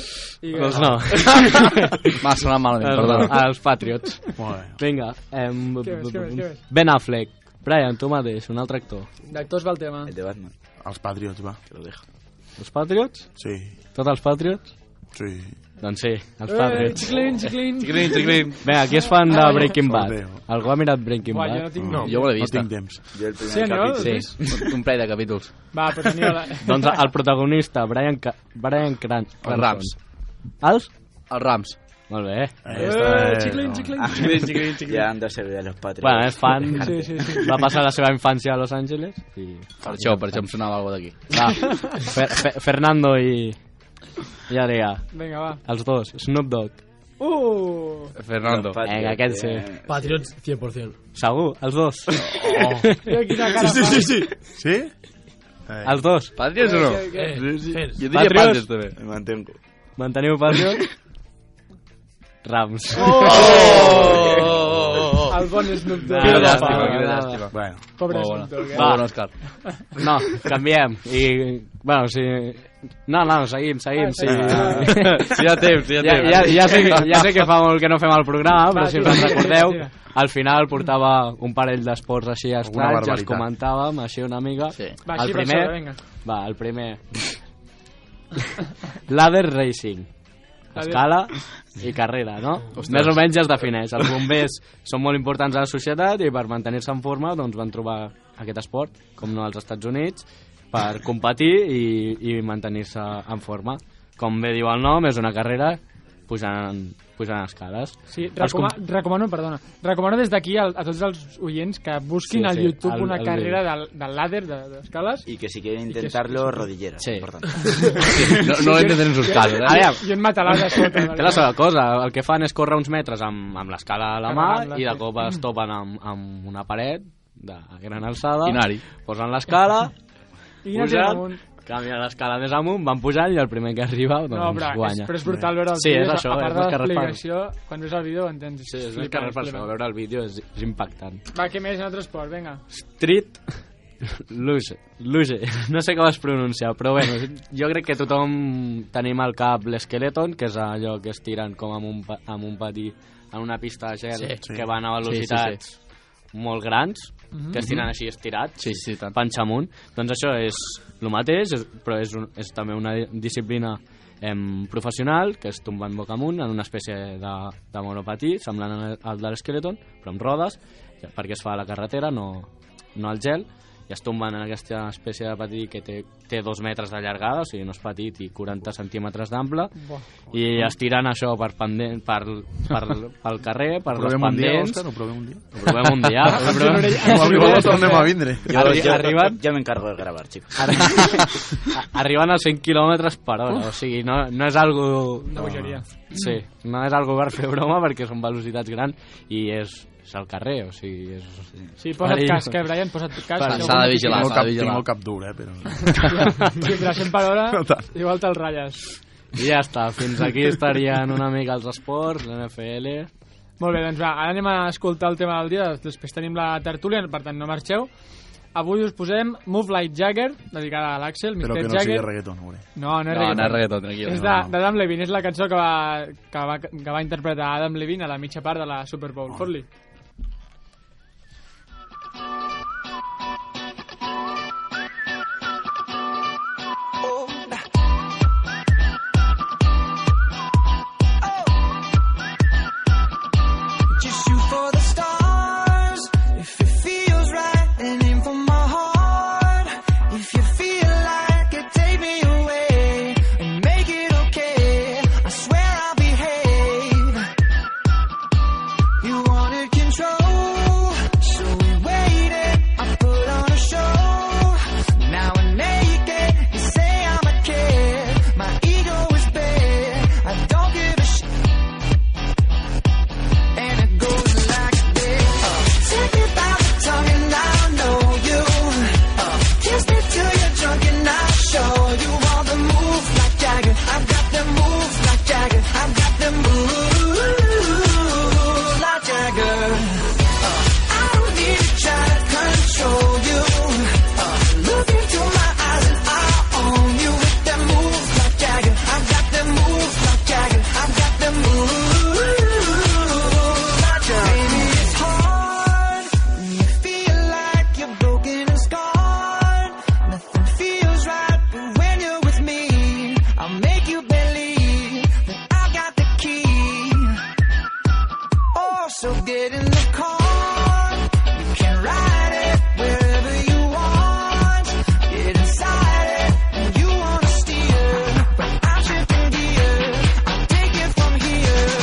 Speaker 1: i...
Speaker 8: Doncs no.
Speaker 5: M'ha sonat malament, perdona.
Speaker 8: Els Patriots.
Speaker 6: Molt bé.
Speaker 8: Vinga, ehm,
Speaker 1: Què més, què més, què més?
Speaker 8: Ben Affleck. Brian, tu mateix, un altre actor.
Speaker 1: D'actors va el tema.
Speaker 8: Eh,
Speaker 4: El de Batman,
Speaker 6: Els Patriots, va.
Speaker 4: que lo dejo.
Speaker 8: Els Patriots?
Speaker 6: Sí,
Speaker 8: Tots els Patriots?
Speaker 6: sí.
Speaker 8: Doncs sí,
Speaker 1: Eh,
Speaker 8: els Patriots.
Speaker 1: xiclin, xiclin.
Speaker 5: Xiclin, xiclin.
Speaker 8: Vinga, aquí es fan de Breaking Bad.
Speaker 6: Déu.
Speaker 8: Algú ha mirat Breaking
Speaker 1: Buah, jo no
Speaker 8: Bad?
Speaker 1: tinc...
Speaker 5: Jo ho he
Speaker 6: No
Speaker 5: vist.
Speaker 6: tinc temps.
Speaker 4: Yo el primer
Speaker 1: Sí, Aníbal,
Speaker 4: capítulo-
Speaker 1: sí.
Speaker 5: Sí, un parell de capítols.
Speaker 1: Va, eh. però tenia la...
Speaker 8: Doncs el protagonista, Brian, Ca Brian Cran
Speaker 5: Els Rams.
Speaker 8: Els?
Speaker 5: Els Rams.
Speaker 8: Molt bé.
Speaker 6: Ahí
Speaker 1: Eh,
Speaker 6: està, eh,
Speaker 1: xiclin,
Speaker 6: no.
Speaker 1: xiclin.
Speaker 8: Ah.
Speaker 4: Ya andándose de los patrios.
Speaker 8: Bueno, és fan...
Speaker 1: Sí, sí, sí.
Speaker 8: Va passar la seva infància a Los Angeles. I...
Speaker 5: Per això, per això em sonava alguna d'aquí.
Speaker 8: Va, Fer Fer Fernando i... I Adrià.
Speaker 1: Vinga, va.
Speaker 8: Els dos. Snoop Dogg.
Speaker 1: Uh!
Speaker 5: Fernando.
Speaker 4: Patriots,
Speaker 8: Vinga, aquest sí.
Speaker 4: eh,
Speaker 3: Patriots 100%.
Speaker 8: Segur, els dos.
Speaker 1: Mira quina cara
Speaker 6: Sí,
Speaker 1: fa.
Speaker 6: sí, sí. Sí? Eh,
Speaker 8: Els dos.
Speaker 5: Patriots o no?
Speaker 1: Que- que-
Speaker 3: Eh, Fes.
Speaker 5: Jo
Speaker 8: Patriots.
Speaker 5: diria Patriots, també.
Speaker 4: Me mantengo.
Speaker 8: Oh, Manteniu Patriots. Rams.
Speaker 5: Oh!
Speaker 1: El El bon Snoop Dogg.
Speaker 5: Quina
Speaker 1: Pobre
Speaker 5: llàstima,
Speaker 1: Snoop
Speaker 5: quina
Speaker 1: Dogg.
Speaker 5: llàstima.
Speaker 6: Bueno,
Speaker 1: Pobre
Speaker 8: Molt
Speaker 1: Snoop Dogg, eh?
Speaker 8: Molt bon, Òscar. No, canviem. I, bueno, si... No, no, seguim, seguim. Ah, Sí.
Speaker 5: Si hi ha temps, si hi ha
Speaker 8: Ja,
Speaker 5: temps.
Speaker 8: ja, ja, sé, que- ja sé que fa molt que no fem el programa,
Speaker 1: Va,
Speaker 8: però si
Speaker 1: tira,
Speaker 8: us en
Speaker 1: tira,
Speaker 8: recordeu,
Speaker 1: tira.
Speaker 8: al final portava un parell d'esports així estranys, els
Speaker 6: barbaritat.
Speaker 8: comentàvem així una mica.
Speaker 5: Sí.
Speaker 1: Va,
Speaker 8: el
Speaker 1: així per
Speaker 8: primer,
Speaker 1: sobre, vinga.
Speaker 8: va, el primer. Ladder Racing. Escala i carrera, no? Més o menys es defineix. Els bombers són molt importants a la societat i per mantenir-se en forma doncs, van trobar aquest esport, com no als Estats Units, per competir i, i mantenir-se en forma. Com bé diu el nom, és una carrera pujant, pujant escales.
Speaker 1: Sí,
Speaker 8: Els
Speaker 1: recoma,
Speaker 8: com-
Speaker 1: recomano, perdona, recomano des d'aquí a, a tots els oients que busquin
Speaker 8: Sí,
Speaker 1: al
Speaker 8: sí,
Speaker 1: YouTube
Speaker 8: el-
Speaker 1: una
Speaker 8: el
Speaker 1: carrera del, del ladder, de- d'escales, de,
Speaker 4: Y que si quieren intentarlo, rodilleras.
Speaker 8: Sí.
Speaker 4: importante.
Speaker 5: No, no l'hem de tenir sus casos, eh?
Speaker 8: A veure,
Speaker 1: i un matalàs a sota.
Speaker 8: Té la Doncs seva cosa, el que fan és córrer uns metres amb, amb l'escala a la mà
Speaker 1: Carregant-la,
Speaker 8: i de
Speaker 1: sí.
Speaker 8: cop es topen amb, amb una paret de gran alçada,
Speaker 5: I anar-hi.
Speaker 8: posen l'escala,
Speaker 1: I anar
Speaker 8: pugen,
Speaker 1: amunt.
Speaker 8: canvien l'escala més amunt, van pujant i el primer que arriba doncs,
Speaker 1: No, però és,
Speaker 8: guanya.
Speaker 1: però és brutal veure els
Speaker 8: Sí, és
Speaker 1: vídeos,
Speaker 8: això,
Speaker 1: a
Speaker 8: és
Speaker 1: part
Speaker 8: les
Speaker 1: de
Speaker 8: carreres per-
Speaker 1: l'explicació, quan veus el vídeo ho entens.
Speaker 8: Sí, és
Speaker 1: Flipa,
Speaker 8: que res per
Speaker 1: flipa.
Speaker 8: això, veure el vídeo és, és impactant.
Speaker 1: Va, què més en altre esport, vinga.
Speaker 8: Street Luge, Luge, no sé com es pronuncia, però bueno, jo crec que tothom tenim al cap l'esqueleton, que és allò que es tiren com amb un, pa- amb un patí en una pista de gel
Speaker 5: Sí,
Speaker 8: que van a
Speaker 5: Sí, Mhm. sí, sí.
Speaker 8: velocitats molt grans, que es tiren així estirats,
Speaker 5: Sí, sí, tant.
Speaker 8: panxa amunt. Doncs això és el mateix, és, però és, un, és també una di- disciplina em, professional, que és tombant boca amunt en una espècie de, de monopatí, semblant al- al de l'esqueleton, però amb rodes, ja- perquè es fa a la carretera, no, no al gel, i es tomben en aquesta espècie de patí que té, té dos metres de llargada, o sigui, no és petit, i 40 centímetres d'ample,
Speaker 1: Buah.
Speaker 8: i es tiren això per pendent, per, per, pel carrer, per les
Speaker 6: provem un dia,
Speaker 8: pendents...
Speaker 6: Òscar, ho provem un dia.
Speaker 8: Ho provem un dia. ho provem un dia.
Speaker 6: Igual, igual tornem a vindre.
Speaker 4: Yo,
Speaker 8: Arri-
Speaker 4: yo-
Speaker 8: arriban.
Speaker 4: yo me encargo de grabar, chicos.
Speaker 8: Ah, Arri- arriben als 100 km per hora, o sigui, no, no és algo...
Speaker 1: Una bogeria.
Speaker 8: Sí, no és algo per fer broma perquè són velocitats grans i és, és al carrer, o sigui... És...
Speaker 1: Sí, posa't
Speaker 8: Vale.
Speaker 1: casc, eh, Brian, posa't casc.
Speaker 8: Vale.
Speaker 1: que
Speaker 5: S'ha de
Speaker 1: algun-
Speaker 5: vigilar,
Speaker 6: Tinc el
Speaker 5: s'ha
Speaker 6: cap,
Speaker 5: de
Speaker 6: tinc
Speaker 5: vigilar.
Speaker 6: el cap dur, eh, però...
Speaker 1: Sí, però 100 per hora,
Speaker 6: No tant.
Speaker 1: igual te'l ratlles.
Speaker 8: I ja està, fins aquí estarien una mica els esports, l'NFL...
Speaker 1: Molt bé, doncs va, ara anem a escoltar el tema del dia, després tenim la tertúlia, per tant no marxeu. Avui us posem Move Like Jagger, dedicada a l'Axel, Mr.
Speaker 6: Però que no sigui
Speaker 1: Jagger.
Speaker 6: reggaeton, hombre.
Speaker 1: No, no és
Speaker 5: No,
Speaker 1: reggaeton.
Speaker 5: no és reggaeton, tranquil.
Speaker 1: És de- d'Adam Levine, és la cançó que va, que, va, que va interpretar Adam Levine a la mitja part de la Super Bowl. Oh. Fot-li.
Speaker 2: Just shoot for the stars if it feels right, and aim for my heart. If you feel like it, take me away and make it okay. I swear I'll behave. You wanted control. Uh, Oh,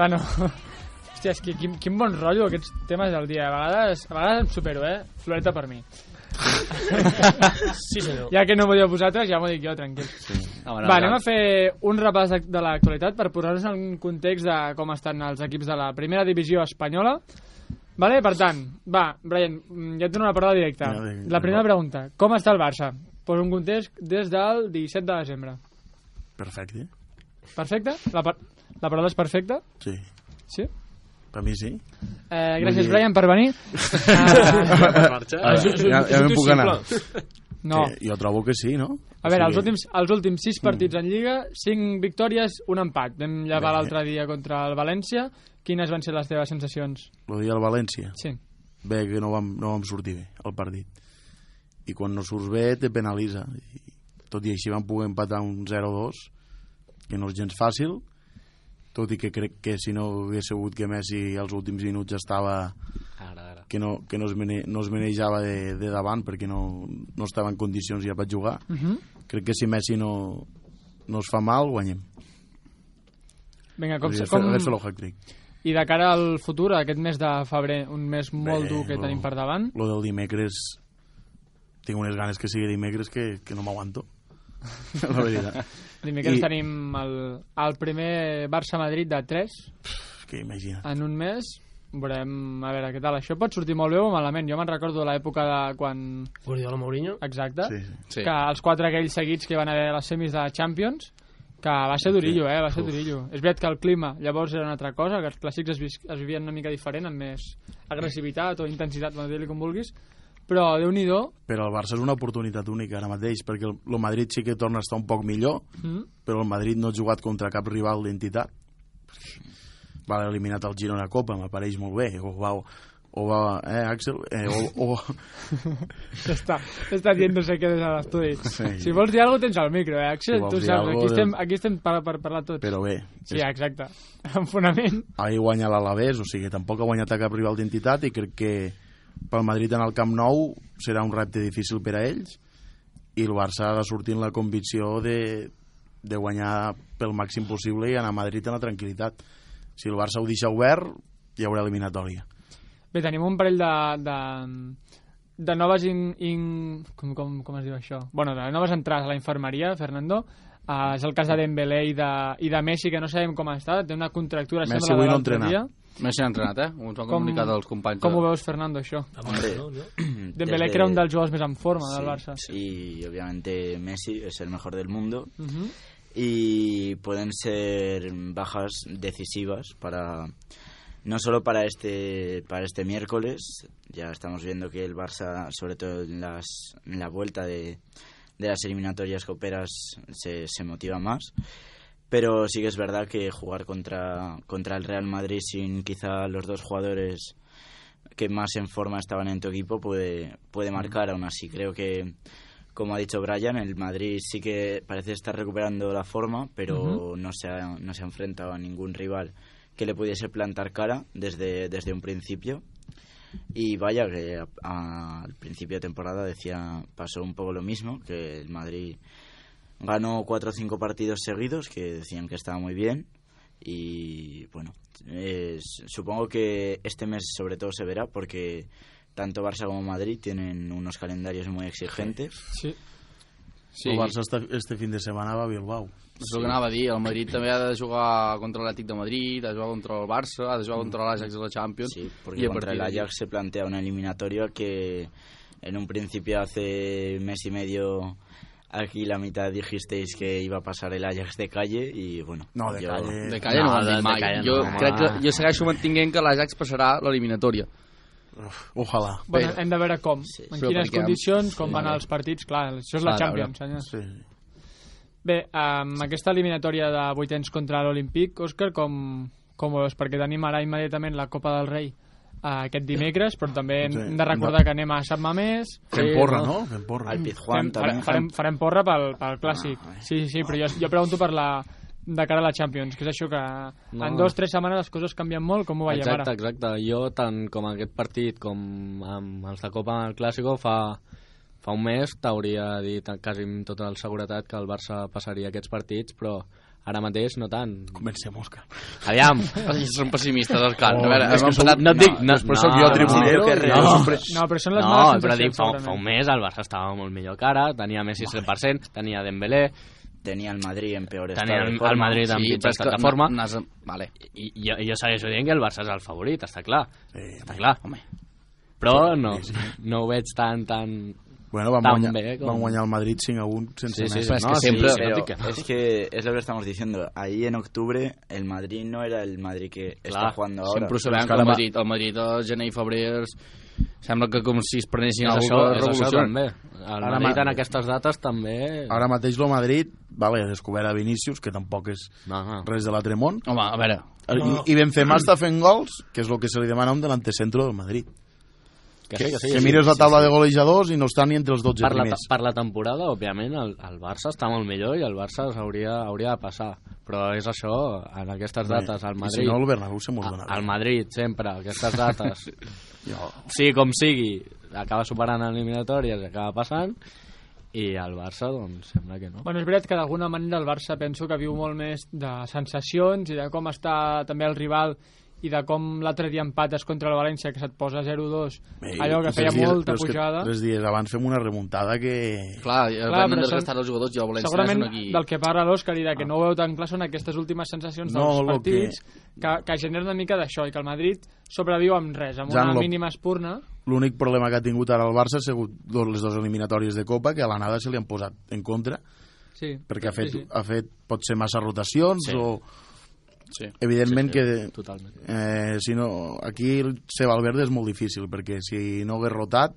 Speaker 1: Bueno, hòstia, és que quin, quin bon rotllo aquests temes del dia. A vegades, a vegades em supero, eh? Floreta per mi.
Speaker 3: Sí, senyor.
Speaker 1: Ja que no m'ho dieu vosaltres, ja m'ho dic jo, tranquil. Sí.
Speaker 5: Home, no,
Speaker 1: Va,
Speaker 5: ja.
Speaker 1: anem a fer un repàs de, de l'actualitat per posar-nos en context de com estan els equips de la primera divisió espanyola. Vale? Per tant, va, Brian, mm, ja et dono la paraula directa.
Speaker 6: Ja, vinga,
Speaker 1: La primera
Speaker 6: vinga.
Speaker 1: pregunta, com està el Barça? Posa un context des del 17 de desembre.
Speaker 6: Perfecte.
Speaker 1: Perfecte? La, par la paraula és perfecta?
Speaker 6: Sí.
Speaker 1: Sí?
Speaker 6: Per mi sí.
Speaker 1: Eh, gràcies,
Speaker 6: Molt bé.
Speaker 1: Brian, per venir. Ah,
Speaker 6: Ah,
Speaker 3: És un- és un-
Speaker 6: ja,
Speaker 3: és
Speaker 6: ja me'n
Speaker 3: un tuit
Speaker 6: puc anar.
Speaker 3: simple.
Speaker 1: no.
Speaker 6: Eh, jo trobo que sí, Mm. no?
Speaker 1: A veure, els últims, els últims sis partits en Lliga, cinc victòries, un empat. Vam llevar l'altre dia contra el València. Quines van ser les teves sensacions?
Speaker 6: Lo dia al València.
Speaker 1: Sí.
Speaker 6: Bé, que no vam, no vam sortir bé al partit. I quan no surts bé, te penalitza. I, tot i així vam poder empatar un 0-2, que no és gens fàcil, tot i que crec que si no hagués sabut que Messi als últims minuts estava
Speaker 5: Ara, ara.
Speaker 6: que no, que no, es, mene, no es manejava de, de davant perquè no, no estava en condicions ja per jugar uh -huh. crec que si Messi no, no es fa mal guanyem
Speaker 1: Vinga, com,
Speaker 6: Hauria de fer-
Speaker 1: com...
Speaker 6: hauria de fer el hat-trick
Speaker 1: I de cara al futur, aquest mes de febrer, un mes molt
Speaker 6: Bé,
Speaker 1: dur que
Speaker 6: Eh, lo-
Speaker 1: tenim per davant.
Speaker 6: Lo del dimecres... Tinc unes ganes que sigui dimecres que, que no m'aguanto. La veritat.
Speaker 1: Dimecres
Speaker 6: I-
Speaker 1: tenim el, el primer Barça-Madrid de 3
Speaker 6: És que imagina.
Speaker 1: en un mes. Veurem, a veure, què tal. Això pot sortir molt bé o malament. Jo me'n recordo de l'època de quan...
Speaker 3: Guardiola Mourinho.
Speaker 1: Exacte.
Speaker 6: Sí, sí.
Speaker 5: Sí.
Speaker 1: que els quatre aquells seguits que van haver a les semis de la Champions que va ser durillo, eh? Va ser durillo. És veritat que el clima llavors era una altra cosa, que els clàssics es, vis- es vivien una mica diferent, amb més agressivitat o intensitat, bueno, dir-li com vulguis, però déu nhi
Speaker 6: Però el Barça és una oportunitat única ara mateix, perquè el, el Madrid sí que torna a estar un poc millor,
Speaker 1: mm?
Speaker 6: però el Madrid no ha jugat contra cap rival d'entitat. Va eliminat el Girona Copa, m'apareix molt bé. O va, o va eh, Axel? Eh, o, o,
Speaker 1: S'està s'està dient no sé què des de l'estudi.
Speaker 6: Sí.
Speaker 1: Si vols dir alguna cosa, tens el micro, eh?
Speaker 6: Si
Speaker 1: Axel,
Speaker 6: vols
Speaker 1: tu
Speaker 6: dir
Speaker 1: saps,
Speaker 6: alguna
Speaker 1: aquí
Speaker 6: cosa,
Speaker 1: estem, aquí estem per, per parlar tots.
Speaker 6: però bé,
Speaker 1: Sí, exacte. Amb fonament.
Speaker 6: ahir guanya l'Alavés, o sigui, tampoc ha guanyat a cap rival d'entitat i crec que pel Madrid en el Camp Nou serà un repte difícil per a ells i el Barça ha de sortir amb la convicció de, de guanyar pel màxim possible i anar a Madrid en la tranquil·litat. Si el Barça ho deixa obert, hi haurà eliminatòria.
Speaker 1: Bé, tenim un parell de... de de noves in, in, com, com, com es diu això? Bueno, de noves entrades a la infermeria, Fernando. Uh, és el cas de Dembélé i de, i de Messi, que no sabem com està. Té una contractura,
Speaker 6: Messi
Speaker 1: sembla,
Speaker 6: avui
Speaker 1: de
Speaker 6: no
Speaker 1: l'altre
Speaker 6: entrena.
Speaker 1: dia.
Speaker 5: Messi ha entrenat, eh? Ho ens ho han
Speaker 1: Com-
Speaker 5: comunicat els companys.
Speaker 1: Com
Speaker 5: de-
Speaker 1: ho veus, Fernando, això?
Speaker 3: Home, no, no.
Speaker 1: Dembélé, que era un dels jugadors més en forma del Barça.
Speaker 4: Y obviamente Messi es el mejor del mundo
Speaker 1: Uh -huh.
Speaker 4: y pueden ser bajas decisivas para no solo para este para este miércoles ya estamos viendo que el Barça sobre todo en las en la vuelta de, de las eliminatorias coperas se, se motiva más pero sí que es verdad que jugar contra contra el Real Madrid sin quizá los dos jugadores que más en forma estaban en tu equipo puede puede marcar aún así creo que como ha dicho Brian, el Madrid sí que parece estar recuperando la forma, pero no, se ha, no se ha enfrentado a ningún rival que le pudiese plantar cara desde, desde un principio. Y vaya, que a- a- al principio de temporada decía, pasó un poco lo mismo, que el Madrid ganó cuatro o cinco partidos seguidos, que decían que estaba muy bien. Y bueno, eh, s- supongo que este mes sobre todo se verá porque tanto Barça como Madrid tienen unos calendarios muy exigentes.
Speaker 1: Sí.
Speaker 5: Sí,
Speaker 6: El Barça este, este fin de setmana va a Bilbao.
Speaker 5: és el que anava a dir. El Madrid també ha de jugar contra l'Atlètic de Madrid, ha de jugar contra el Barça, ha de jugar contra l'Ajax de la Champions.
Speaker 4: Sí,
Speaker 5: i
Speaker 4: porque
Speaker 5: a
Speaker 4: contra
Speaker 5: partir
Speaker 4: el
Speaker 5: d'aquí-
Speaker 4: Ajax se plantea una eliminatoria que en un principio hace mes y medio aquí la mitad dijisteis que iba a pasar el Ajax de calle y bueno.
Speaker 6: No, de
Speaker 4: yo-
Speaker 6: calle.
Speaker 5: De calle no,
Speaker 8: No,
Speaker 5: no
Speaker 8: de-
Speaker 5: dit
Speaker 8: de
Speaker 5: mai.
Speaker 8: calle
Speaker 5: jo,
Speaker 8: no.
Speaker 5: crec que, jo segueixo mantinguent que l'Ajax passarà l'eliminatòria.
Speaker 6: Ojalà.
Speaker 1: Bueno,
Speaker 5: Però-
Speaker 1: hem de veure com, en
Speaker 5: Però
Speaker 1: quines
Speaker 5: perquè-
Speaker 1: condicions, com
Speaker 5: Sí,
Speaker 1: van
Speaker 5: vale.
Speaker 1: els partits. Clar, això és la
Speaker 5: Clar, a veure.
Speaker 1: Champions, senyors.
Speaker 6: Sí.
Speaker 1: Bé, amb aquesta eliminatòria de vuitens contra l'Olímpic, Òscar, com, com ho veus? Perquè tenim ara immediatament la Copa del Rei eh, aquest dimecres, però també hem
Speaker 6: Sí,
Speaker 1: hem de recordar que anem a Sant Mamés.
Speaker 6: Fem
Speaker 5: Sí,
Speaker 6: porra,
Speaker 5: no?
Speaker 6: no? Fem porra.
Speaker 4: Al Pizjuán
Speaker 1: Fem, farem,
Speaker 4: también.
Speaker 1: farem, farem porra pel, pel clàssic.
Speaker 8: Ah,
Speaker 1: Sí, sí, sí, però jo, jo pregunto per la, de cara a la Champions, que és això que en
Speaker 8: No.
Speaker 1: dues o tres setmanes les coses canvien molt, com ho veiem
Speaker 8: Exacte,
Speaker 1: ara?
Speaker 8: exacte. Jo, tant com aquest partit com amb els de Copa amb el Clàssico, fa, fa un mes t'hauria dit amb quasi amb tota la seguretat que el Barça passaria aquests partits, però Ara mateix no tant.
Speaker 6: Comencem, Òscar.
Speaker 5: Aviam, són pessimistes, Òscar.
Speaker 6: Oh,
Speaker 5: a veure,
Speaker 6: és
Speaker 5: és
Speaker 6: que
Speaker 5: que
Speaker 6: som-
Speaker 5: no et dic...
Speaker 6: no, després sóc jo tribunero
Speaker 5: no,
Speaker 6: i
Speaker 5: no,
Speaker 6: jo sempre-
Speaker 1: No, però són les
Speaker 8: no,
Speaker 1: males
Speaker 8: però dic,
Speaker 1: sensacions,
Speaker 8: fa, fa un
Speaker 1: segurament.
Speaker 8: mes el Barça estava molt millor que ara, tenia Messi 100%, tenia Dembélé,
Speaker 4: Tenía el Madrid en peores
Speaker 8: tenia el, el Madrid en sí, pitjor estat de forma,
Speaker 5: No, no, vale.
Speaker 8: i jo, jo segueixo dient que el Barça és el favorit, està clar,
Speaker 6: Eh,
Speaker 8: està clar.
Speaker 5: Home.
Speaker 8: Però no, no ho veig tan, tan...
Speaker 6: Bueno, van
Speaker 8: Tan
Speaker 6: guanyar,
Speaker 8: bé com-
Speaker 6: van guanyar el Madrid 5 a 1 sense
Speaker 8: Sí, sí,
Speaker 6: més.
Speaker 8: sí,
Speaker 5: es
Speaker 8: no,
Speaker 5: que
Speaker 8: sí,
Speaker 5: siempre-
Speaker 8: sí, no et
Speaker 4: Pero
Speaker 8: dic que no.
Speaker 4: es que es lo que estamos diciendo. Ahí en octubre el Madrid no era el Madrid que está
Speaker 8: Claro,
Speaker 4: jugando ahora.
Speaker 5: Sempre ho sabem
Speaker 6: Però és
Speaker 5: que
Speaker 6: que
Speaker 5: el
Speaker 6: ara
Speaker 5: Madrid, el Madrid, el gener i febrer, sembla que com si es prenessin
Speaker 8: És això,
Speaker 5: alguna
Speaker 8: és això
Speaker 5: revolució.
Speaker 8: també. El
Speaker 6: Ara
Speaker 8: Madrid
Speaker 6: ma-
Speaker 8: en aquestes dates també...
Speaker 6: Ara mateix el Madrid, vale, descobert a Vinícius, que tampoc és
Speaker 8: No, no.
Speaker 6: res de l'altre món,
Speaker 5: Home, a veure,
Speaker 6: I, i Benzema està fent gols, que és el que se li demana a un delantecentro del Madrid.
Speaker 8: Que, sí, que, sí,
Speaker 6: que
Speaker 8: sí.
Speaker 6: mires la taula de golejadors i no està ni entre els 12
Speaker 8: per la,
Speaker 6: primers.
Speaker 8: per la temporada, òbviament, el, el Barça està molt millor i el Barça hauria, hauria de passar. Però és això, en aquestes dates, el
Speaker 6: I si
Speaker 8: Madrid... Ah,
Speaker 6: no, el Bernabéu se mos dona.
Speaker 8: el Madrid, sempre, aquestes dates.
Speaker 6: Jo.
Speaker 8: sí, com sigui, acaba superant eliminatòries, acaba passant, i el Barça, doncs, sembla que no.
Speaker 1: Bueno, és veritat que d'alguna manera el Barça penso que viu molt més de sensacions i de com està també el rival i de com l'altre dia empates contra el València que se't posa 0-2
Speaker 6: Ei,
Speaker 1: allò que
Speaker 6: tres
Speaker 1: feia
Speaker 6: dies-
Speaker 1: molta
Speaker 6: però és que
Speaker 1: pujada
Speaker 6: Tres dies abans fem una remuntada que...
Speaker 5: clar, clar
Speaker 1: però
Speaker 5: van
Speaker 1: són-
Speaker 5: desgastar els jugadors i el València
Speaker 1: segurament
Speaker 5: és un equip... Ah.
Speaker 1: del que parla l'Òscar i de que no ho veu tan clar són aquestes últimes sensacions
Speaker 6: No,
Speaker 1: dels
Speaker 6: lo
Speaker 1: partits que... Que, generen una mica d'això i que el Madrid sobreviu amb res, amb
Speaker 6: Jan,
Speaker 1: una
Speaker 6: lo-
Speaker 1: mínima espurna
Speaker 6: L'únic problema que ha tingut ara el Barça ha sigut dos, les dues eliminatòries de Copa, que a l'anada se li han posat en contra,
Speaker 1: sí,
Speaker 6: perquè ha fet,
Speaker 1: sí, sí.
Speaker 6: ha fet pot ser massa rotacions
Speaker 5: Sí.
Speaker 6: o...
Speaker 5: Sí.
Speaker 6: Evidentment que
Speaker 8: Totalment.
Speaker 6: Eh, si no, aquí ser Valverde és molt difícil, perquè si no hagués rotat,